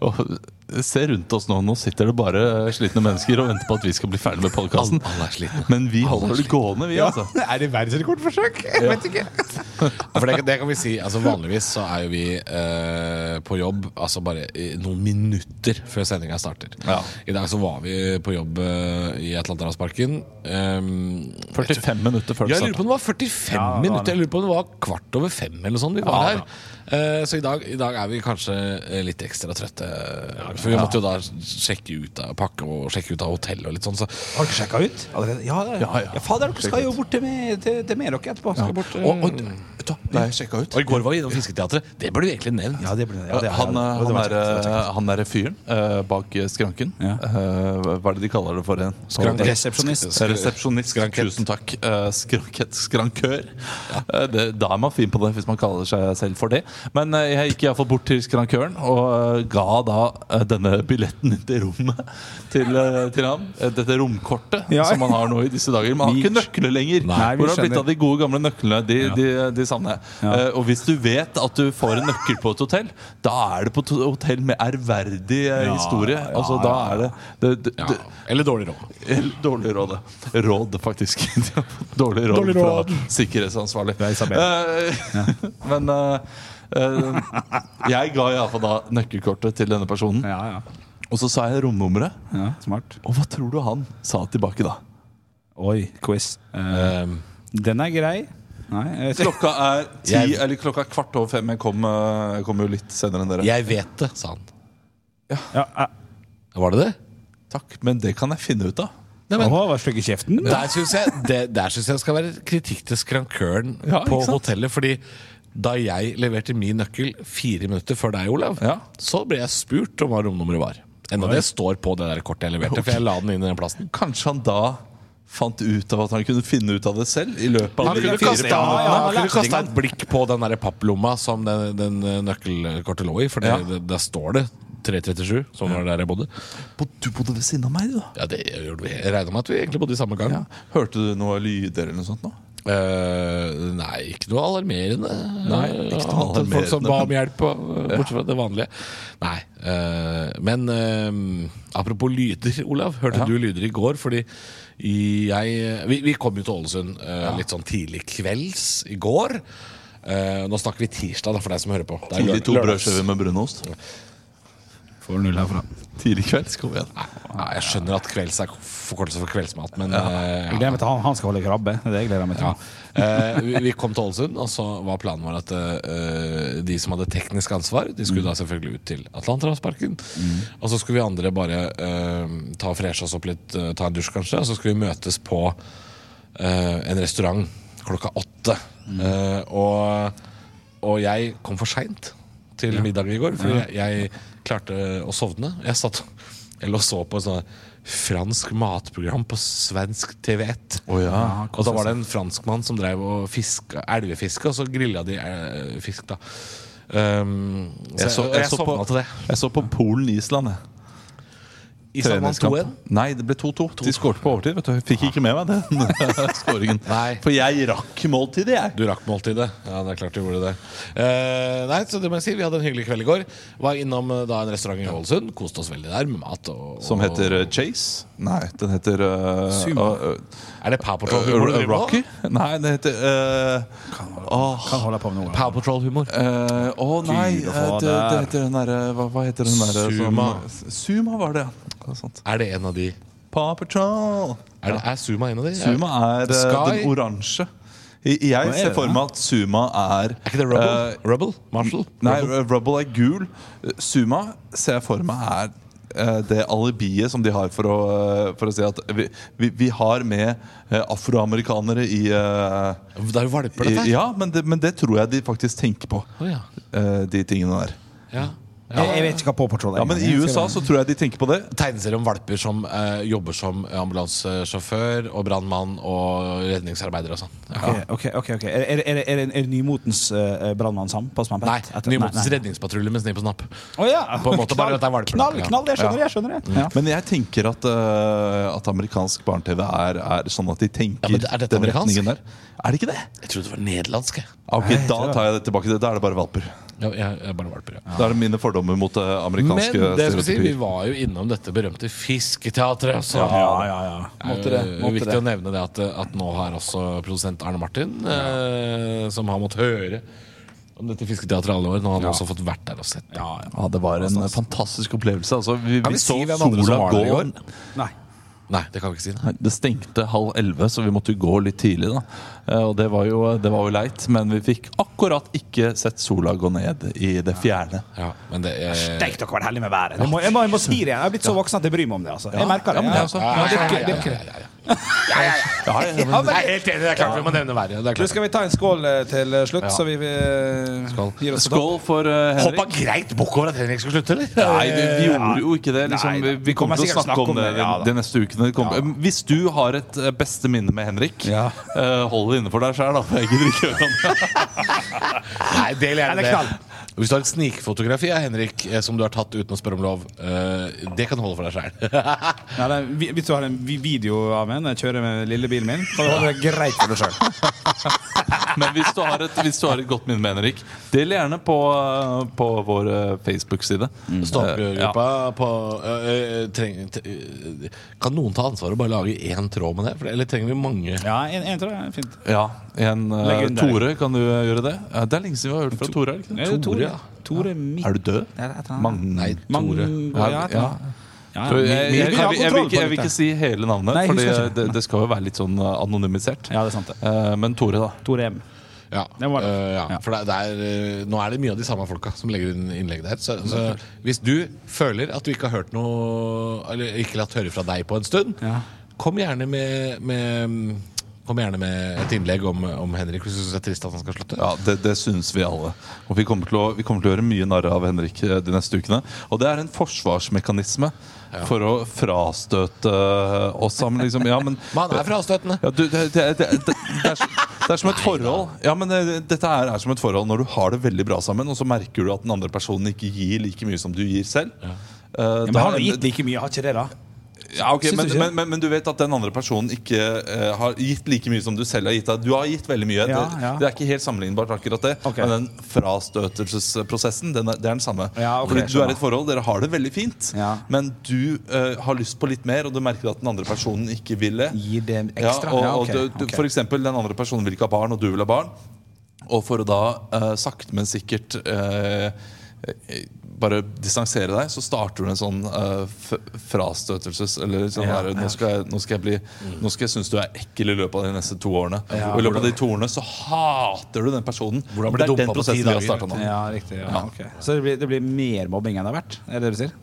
Speaker 1: Og se rundt oss nå. Nå sitter det bare slitne mennesker og venter på at vi skal bli ferdig med podkasten.
Speaker 3: Alle er slitne.
Speaker 1: Men vi holder det gående, vi, altså.
Speaker 6: Er det verdensrekordforsøk? Jeg vet ikke.
Speaker 3: For det, det kan vi si, altså Vanligvis så er jo vi eh, på jobb altså bare i noen minutter før sendinga starter. I dag så var vi på jobb eh, i Atlanterhavsparken. Um,
Speaker 1: 45 minutter før
Speaker 3: ja,
Speaker 1: det
Speaker 3: jeg lurer
Speaker 1: starter.
Speaker 3: på om det var
Speaker 6: Ja,
Speaker 3: 45
Speaker 6: det var
Speaker 3: minutter.
Speaker 6: det.
Speaker 3: Jeg lurer på om det var kvart over fem eller sånn vi var her. Eh, så i dag, i dag er vi kanskje eh, litt ekstra trøtte. For vi måtte jo da sjekke ut av pakke og sjekke ut av hotell og litt sånn. Så
Speaker 4: Har dere sjekka ut? Allerede? Ja, ja, ja. ja fader, dere skal jo bort til meg, til, til meg dere etterpå. Skal bort, eh,
Speaker 3: og, og, vet du hva? Vi sjekket ut. og i går var vi innom Fisketeatret. Det burde vi egentlig nevnt.
Speaker 4: ja, det blir ja, det. er-
Speaker 1: Han, eh,
Speaker 4: ja, det
Speaker 1: han,
Speaker 4: var
Speaker 1: er,
Speaker 4: kjekt.
Speaker 1: eh, han er fyren eh, bak eh, skranken.
Speaker 4: Ja.
Speaker 1: Eh, hva er det de kaller det for en?
Speaker 3: Skrank-
Speaker 4: Resepsjonist.
Speaker 1: Eh, Resepsjonist.
Speaker 3: Skranket.
Speaker 1: Tusen takk. Eh, Skranket. Skrankør. Eh, Det, da er man fin på det, hvis man kaller seg selv for det. Men eh, jeg gikk iallfall bort til skrankøren og eh, ga da eh, denne billetten inn til rommet til, eh, til ham. Eh, Dette romkortet
Speaker 4: Ja.
Speaker 1: som man har nå i disse dager. Man har
Speaker 4: Vi-
Speaker 1: ikke nøkler lenger.
Speaker 4: Nei, vi
Speaker 1: Hvor har det blitt
Speaker 4: skjønner.
Speaker 1: av de gode, gamle nøklene? De, de, de savner jeg. Eh, Og hvis du vet at du får en nøkkel på et hotell, da er det på et hotell med ærverdig eh, historie. Altså, da er det, det, det,
Speaker 3: Ja.
Speaker 1: det
Speaker 3: Eller dårlig råd.
Speaker 1: eller Eh, Dårlig råd. ja. Råd, faktisk. De har fått Dårlig råd,
Speaker 5: Dårlig råd.
Speaker 1: fra sikkerhetsansvarlig.
Speaker 4: er Isabel.
Speaker 1: Eh, Men eh, eh, jeg ga iallfall da nøkkelkortet til denne personen.
Speaker 4: Ja, ja.
Speaker 1: Og så sa jeg romnummeret.
Speaker 4: ja, smart.
Speaker 1: Og hva tror du han sa tilbake da?
Speaker 4: Oi, quiz. Eh,
Speaker 3: Um,
Speaker 4: den er grei. Nei, jeg vet ikke.
Speaker 1: Klokka er ti,
Speaker 3: Jeg-
Speaker 1: eller klokka er kvart over fem. Jeg kom, eh, jeg kom jo litt senere enn dere.
Speaker 3: jeg vet det, sa han.
Speaker 4: Ja, eh,
Speaker 3: Var det det?
Speaker 1: Takk, men det kan jeg finne ut av.
Speaker 4: Å, hva stygg i kjeften.
Speaker 3: Der syns jeg, det- der synes jeg det skal være kritikk til skrankøren
Speaker 1: Ja,
Speaker 3: på
Speaker 1: ikke sant?
Speaker 3: hotellet. Fordi da jeg leverte min nøkkel fire minutter før deg, Olav,
Speaker 1: Ja.
Speaker 3: så ble jeg spurt om hva romnummeret var. Enda det står på det der kortet jeg leverte, for jeg la den inn i den plassen.
Speaker 1: Kanskje han da fant ut av at han kunne finne ut av det selv? i løpet av
Speaker 3: Han
Speaker 1: de
Speaker 3: kunne
Speaker 1: fire
Speaker 3: kasta,
Speaker 1: minuttene.
Speaker 3: han kunne kasta et blikk på den der papplomma som den, den eh, nøkkelkortet lå i, for det,
Speaker 1: Ja.
Speaker 3: det, der står det 337, som var der jeg bodde.
Speaker 1: Bo- Du bodde ved siden av meg, du, da.
Speaker 3: Ja, det gjorde vi. Jeg regna med at vi egentlig bodde i samme gang.
Speaker 1: Ja. Hørte du noe lyder eller noe sånt nå?
Speaker 3: Eh, nei, ikke noe alarmerende.
Speaker 1: Nei, ikke noe
Speaker 3: Annet enn Folk som
Speaker 1: alarmerende,
Speaker 3: ba om
Speaker 1: men-
Speaker 3: hjelp, og, eh, bortsett fra det vanlige. Nei. eh, men eh, apropos lyder, Olav. Hørte du lyder i går? Fordi i- jeg Vi, vi kom jo til Ålesund eh, litt sånn tidlig kvelds i går. Eh, nå snakker vi tirsdag, da, for deg som hører på. Det er
Speaker 1: Tidlig to
Speaker 3: lørdags.
Speaker 1: brødskiver med brunost.
Speaker 4: Får null herfra.
Speaker 1: Tidlig kveld, kom igjen.
Speaker 3: Nei, nei, jeg skjønner at kvelds er forkortelse for kveldsmat, men eh,
Speaker 4: Jeg
Speaker 3: ja.
Speaker 4: gleder meg til han, han skal holde krabbe. Det er det jeg gleder meg til.
Speaker 3: Ja. Eh, vi, vi kom til Ålesund, og så var planen vår at eh, de som hadde teknisk ansvar, de skulle da selvfølgelig ut til Atlanterhavsparken. Og så skulle vi andre bare eh, ta og freshe oss opp litt, eh, ta en dusj kanskje, og så skulle vi møtes på eh, en restaurant klokka åtte. Eh, og, og jeg kom for seint til middagen i går, fordi jeg, jeg klarte å sovne. Jeg satt jeg lå og så på et sånt fransk matprogram på svensk TV1.
Speaker 1: Å ja.
Speaker 3: Og da var det en franskmann som drev og fiska elvefiske, og så grilla de eh, fisk, da. Um, så jeg,
Speaker 1: så-
Speaker 3: og
Speaker 1: jeg
Speaker 3: jeg
Speaker 1: så på-
Speaker 3: sovna til det.
Speaker 1: Jeg så på Polen-Island. jeg.
Speaker 3: Island vant 2-1.
Speaker 1: Treningskamp. Nei, det ble 2-2. De skårte på overtid. vet du Jeg fikk ikke med meg den skåringen.
Speaker 3: Nei.
Speaker 1: For jeg rakk måltidet, jeg.
Speaker 3: Du rakk måltidet. Ja, det er klart du gjorde det. Eh, nei, så det må jeg si. Vi hadde en hyggelig kveld i går. Var innom eh, da en restaurant i Ålesund. Koste oss veldig der med mat. Og, og,
Speaker 1: Som heter eh, Chase. Nei, den heter eh,
Speaker 3: Sumo.
Speaker 1: eh,
Speaker 3: Er det Power
Speaker 1: eh,
Speaker 3: Patrol-humor? du
Speaker 1: eh,
Speaker 3: driver med
Speaker 1: Rocky?
Speaker 3: nå?
Speaker 1: Nei, det heter eh, Åh
Speaker 4: Kan holde på med noe.
Speaker 3: Power Patrol-humor.
Speaker 1: eh, Å nei,
Speaker 4: Gud,
Speaker 1: eh,
Speaker 4: hva
Speaker 1: det, det
Speaker 4: det
Speaker 1: heter den derre hva, hva heter den derre
Speaker 3: Suma.
Speaker 1: som- Suma var det, ja. Det er sant.
Speaker 3: Er det en av de?
Speaker 1: Paw Patrol!
Speaker 3: Er, det, er Suma en av de?
Speaker 1: Suma er eh,
Speaker 3: Sky?
Speaker 1: den oransje. I- Jeg
Speaker 4: er
Speaker 1: ser
Speaker 4: det,
Speaker 1: for
Speaker 4: da?
Speaker 1: meg at Suma er
Speaker 3: Er ikke det Rubble?
Speaker 1: eh,
Speaker 3: Rubble? Marshall?
Speaker 1: Nei, eh, Rubble er gul. Suma ser jeg for meg er eh, det alibiet som de har for å, eh, for å si at vi, vi, vi har med eh, afroamerikanere i, eh,
Speaker 3: Rubble? Det er jo valper,
Speaker 1: i
Speaker 3: dette her.
Speaker 1: Ja, men det, men det tror jeg de faktisk tenker på.
Speaker 3: Å, ja.
Speaker 1: eh, De tingene der.
Speaker 3: Ja. Ja,
Speaker 1: Eh.
Speaker 4: Jeg, jeg vet ikke hva Paw Patrol er.
Speaker 1: Ja, Men i USA så tror jeg de tenker på det.
Speaker 3: tegneserie om valper som eh, jobber som ambulansesjåfør og brannmann og redningsarbeider og sånn. Ja.
Speaker 4: Ok, ok, ok Er, er, er, er, er, er det nymotens uh, brannmannssam? Pass meg
Speaker 3: Nei,
Speaker 4: på. Etter-
Speaker 3: Nymotens
Speaker 4: nei, nei.
Speaker 3: redningspatrulje med snipp og snapp.
Speaker 4: Å ja.
Speaker 3: På en måte bare at det er valper, Mm. da.
Speaker 4: Knall, knall, jeg skjønner det. Jeg skjønner det. Ja.
Speaker 1: Men jeg tenker at, eh, at amerikansk barne-TV er, er sånn at de tenker
Speaker 3: Ja, men er dette
Speaker 1: den
Speaker 3: amerikansk?
Speaker 1: retningen der. Er det ikke det?
Speaker 3: Jeg trodde det var nederlandsk. jeg.
Speaker 1: Ok, Da tar jeg det tilbake. Da er det bare valper.
Speaker 3: Ja, jeg, jeg bare valper, ja.
Speaker 1: Da er det mine fordommer mot eh,
Speaker 3: Men
Speaker 1: amerikanske
Speaker 3: det jeg skulle si, vi
Speaker 1: stereotypier.
Speaker 3: var jo innom dette berømte Fisketeatret. Også.
Speaker 4: Ja, ja, ja. Måtte det.
Speaker 3: Eh,
Speaker 4: Måtte
Speaker 3: viktig å
Speaker 4: det.
Speaker 3: nevne det at, at nå har også produsent Arne Martin, eh, som har måttet høre om dette fisketeatret i alle år, nå har han også fått vært der og sett det.
Speaker 4: Ja, ja.
Speaker 1: Ja, det var en eh, fantastisk opplevelse. Altså, vi,
Speaker 3: vi
Speaker 1: vi
Speaker 3: si
Speaker 1: så
Speaker 3: hvem andre som
Speaker 1: sola
Speaker 3: var
Speaker 1: gå
Speaker 3: der i år?
Speaker 4: Nei.
Speaker 3: Nei, det kan vi ikke si.
Speaker 1: Nei, Det stengte halv elleve, så vi måtte jo gå litt tidlig. da Eh, Og det var jo, det var jo leit, men vi fikk akkurat ikke sett sola gå ned i det fjerne.
Speaker 3: Ja, men det eh, er
Speaker 4: Steik dere vært heldig med været. Jeg må, jeg, må, jeg må si det. Jeg er blitt så voksen at jeg bryr meg om det. altså. Jeg merker det.
Speaker 1: men det er også-
Speaker 4: Ja, det er ikke- det er ikke det.
Speaker 1: Ja, ja,
Speaker 4: Ja,
Speaker 1: men
Speaker 4: men
Speaker 3: Nei, helt enig, det er klart vi må nevne været. Det er
Speaker 4: Du,
Speaker 3: klart.
Speaker 4: skal vi ta en skål eh, til eh, slutt,
Speaker 3: Ja.
Speaker 4: så vi, vi eh,
Speaker 3: Skål.
Speaker 4: gir oss
Speaker 1: Skål for eh,
Speaker 3: Hoppa
Speaker 1: Henrik.
Speaker 3: greit bukk over at Henrik skulle slutte, eller?
Speaker 1: Nei, vi, vi gjorde jo ikke det. Liksom,
Speaker 4: Nei,
Speaker 1: vi, vi kommer til å snakke om det de,
Speaker 4: ja da.
Speaker 1: de neste ukene. Det kommer- Eh, Hvis du har et eh, beste minne med Henrik,
Speaker 4: Ja.
Speaker 1: eh, hold det innenfor deg sjøl, da. For jeg gidder ikke høre om det.
Speaker 3: Nei, del gjerne
Speaker 4: Eller
Speaker 3: det.
Speaker 4: knall.
Speaker 3: Hvis du har et snikfotografi av Henrik eh, som du har tatt uten å spørre om lov, eh, det kan du holde for deg sjæl.
Speaker 4: Ja, det er- vi- Hvis du har en vi- video av meg når jeg kjører med lillebilen min, så holder det greit for deg sjøl.
Speaker 1: Men hvis du, har et, hvis du har et godt minne med Henrik, del gjerne på, eh, på vår eh, Facebook-side.
Speaker 4: Mm.
Speaker 3: Ståpgruppa på øh, øh, treng, t- øh, Kan noen ta ansvaret og bare lage én tråd med det? For, eller trenger vi mange?
Speaker 4: Ja, en, en tror jeg er fint.
Speaker 1: Ja, en, eh,
Speaker 4: Legg under.
Speaker 1: Tore, kan du eh, gjøre det? Eh, Det er lenge siden vi har hørt fra Tore. er det ikke det?
Speaker 4: Ja, det er
Speaker 3: Tore, ja.
Speaker 4: Eh, Tore Midt...
Speaker 1: Er du død? Mange
Speaker 3: Nei, Tore.
Speaker 4: Tore. Ja, ja,
Speaker 1: Ja.
Speaker 4: ja.
Speaker 1: Så Jeg, jeg, jeg,
Speaker 4: Vi har
Speaker 1: jeg, jeg, vil
Speaker 4: kontroll på
Speaker 1: ikke, jeg vil
Speaker 4: dette.
Speaker 1: ikke si hele navnet,
Speaker 4: Nei,
Speaker 1: Fordi
Speaker 4: husker ikke.
Speaker 1: det, det skal jo være litt sånn eh, anonymisert.
Speaker 4: Ja, det er sant, det.
Speaker 1: Eh, Men Tore, da.
Speaker 4: Tore M.
Speaker 3: Ja.
Speaker 4: Det var det.
Speaker 3: Øh, ja.
Speaker 4: Ja.
Speaker 3: For det, det er, øh, nå er det mye av de samme folka som legger inn innlegg der. Så, så hvis du føler at du ikke har hørt noe Eller ikke latt høre fra deg på en stund,
Speaker 4: Ja.
Speaker 3: kom gjerne med, med Kom gjerne med et innlegg om, om Henrik hvis du syns det er trist at han skal slutte.
Speaker 1: Ja, det, det syns vi alle. Og vi kommer, til å, vi kommer til å gjøre mye narr av Henrik eh, de neste ukene. Og det er en forsvarsmekanisme for å frastøte oss sammen. Liksom. Ja, men,
Speaker 3: Men han er frastøtende.
Speaker 1: ja, du, det, det, det, det, det, er, som- det er som et forhold. Ja, men eh, Dette er, er som et forhold når du har det veldig bra sammen, og så merker du at den andre personen ikke gir like mye som du gir selv. Eh,
Speaker 4: Ja, men
Speaker 1: da-
Speaker 4: han har gitt like mye, har ikke det, da?
Speaker 1: ja, ok,
Speaker 4: Syns du
Speaker 1: men,
Speaker 4: ikke det?
Speaker 1: men, men, men du vet at den andre personen ikke eh, har gitt like mye som du selv har gitt. deg. Du har gitt veldig mye.
Speaker 4: Ja,
Speaker 1: det,
Speaker 4: ja.
Speaker 1: det er ikke helt sammenlignbart, akkurat det.
Speaker 4: Ok.
Speaker 1: Men den frastøtelsesprosessen, den er, det er den samme.
Speaker 4: Ja, ok,
Speaker 1: Fordi du
Speaker 4: skjønner.
Speaker 1: er i et forhold, dere har det veldig fint,
Speaker 4: Ja.
Speaker 1: men du eh, har lyst på litt mer, og du merker at den andre personen ikke vil det.
Speaker 4: Gir det
Speaker 1: Ja,
Speaker 4: ekstra?
Speaker 1: og,
Speaker 4: Ja,
Speaker 1: og
Speaker 4: ok,
Speaker 1: du, du,
Speaker 4: ok.
Speaker 1: For eksempel, den andre personen vil ikke ha barn, og du vil ha barn. Og for å da eh, sakte, men sikkert eh, eh, bare distansere deg, så starter du en sånn eh, f frastøtelses... Eller sånn
Speaker 4: Ja, Mm.
Speaker 1: her, nå, skal jeg, nå skal jeg bli Nå skal jeg synes du er ekkel i løpet av de neste to årene.
Speaker 4: Ja,
Speaker 1: og I løpet av de to årene så hater du den personen.
Speaker 3: Hvordan blir
Speaker 1: Det er
Speaker 3: du dumpa
Speaker 1: den
Speaker 3: på ti
Speaker 1: prosessen vi har
Speaker 3: dager?
Speaker 1: startet nå.
Speaker 4: Ja, riktig. Ja, ok. Så det blir, det blir mer mobbing enn det har vært? Er det det du sier?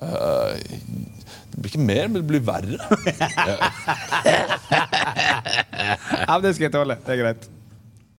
Speaker 1: Eh, Det blir ikke mer, men det blir verre.
Speaker 4: Ja, men det skal jeg tåle. Det er greit.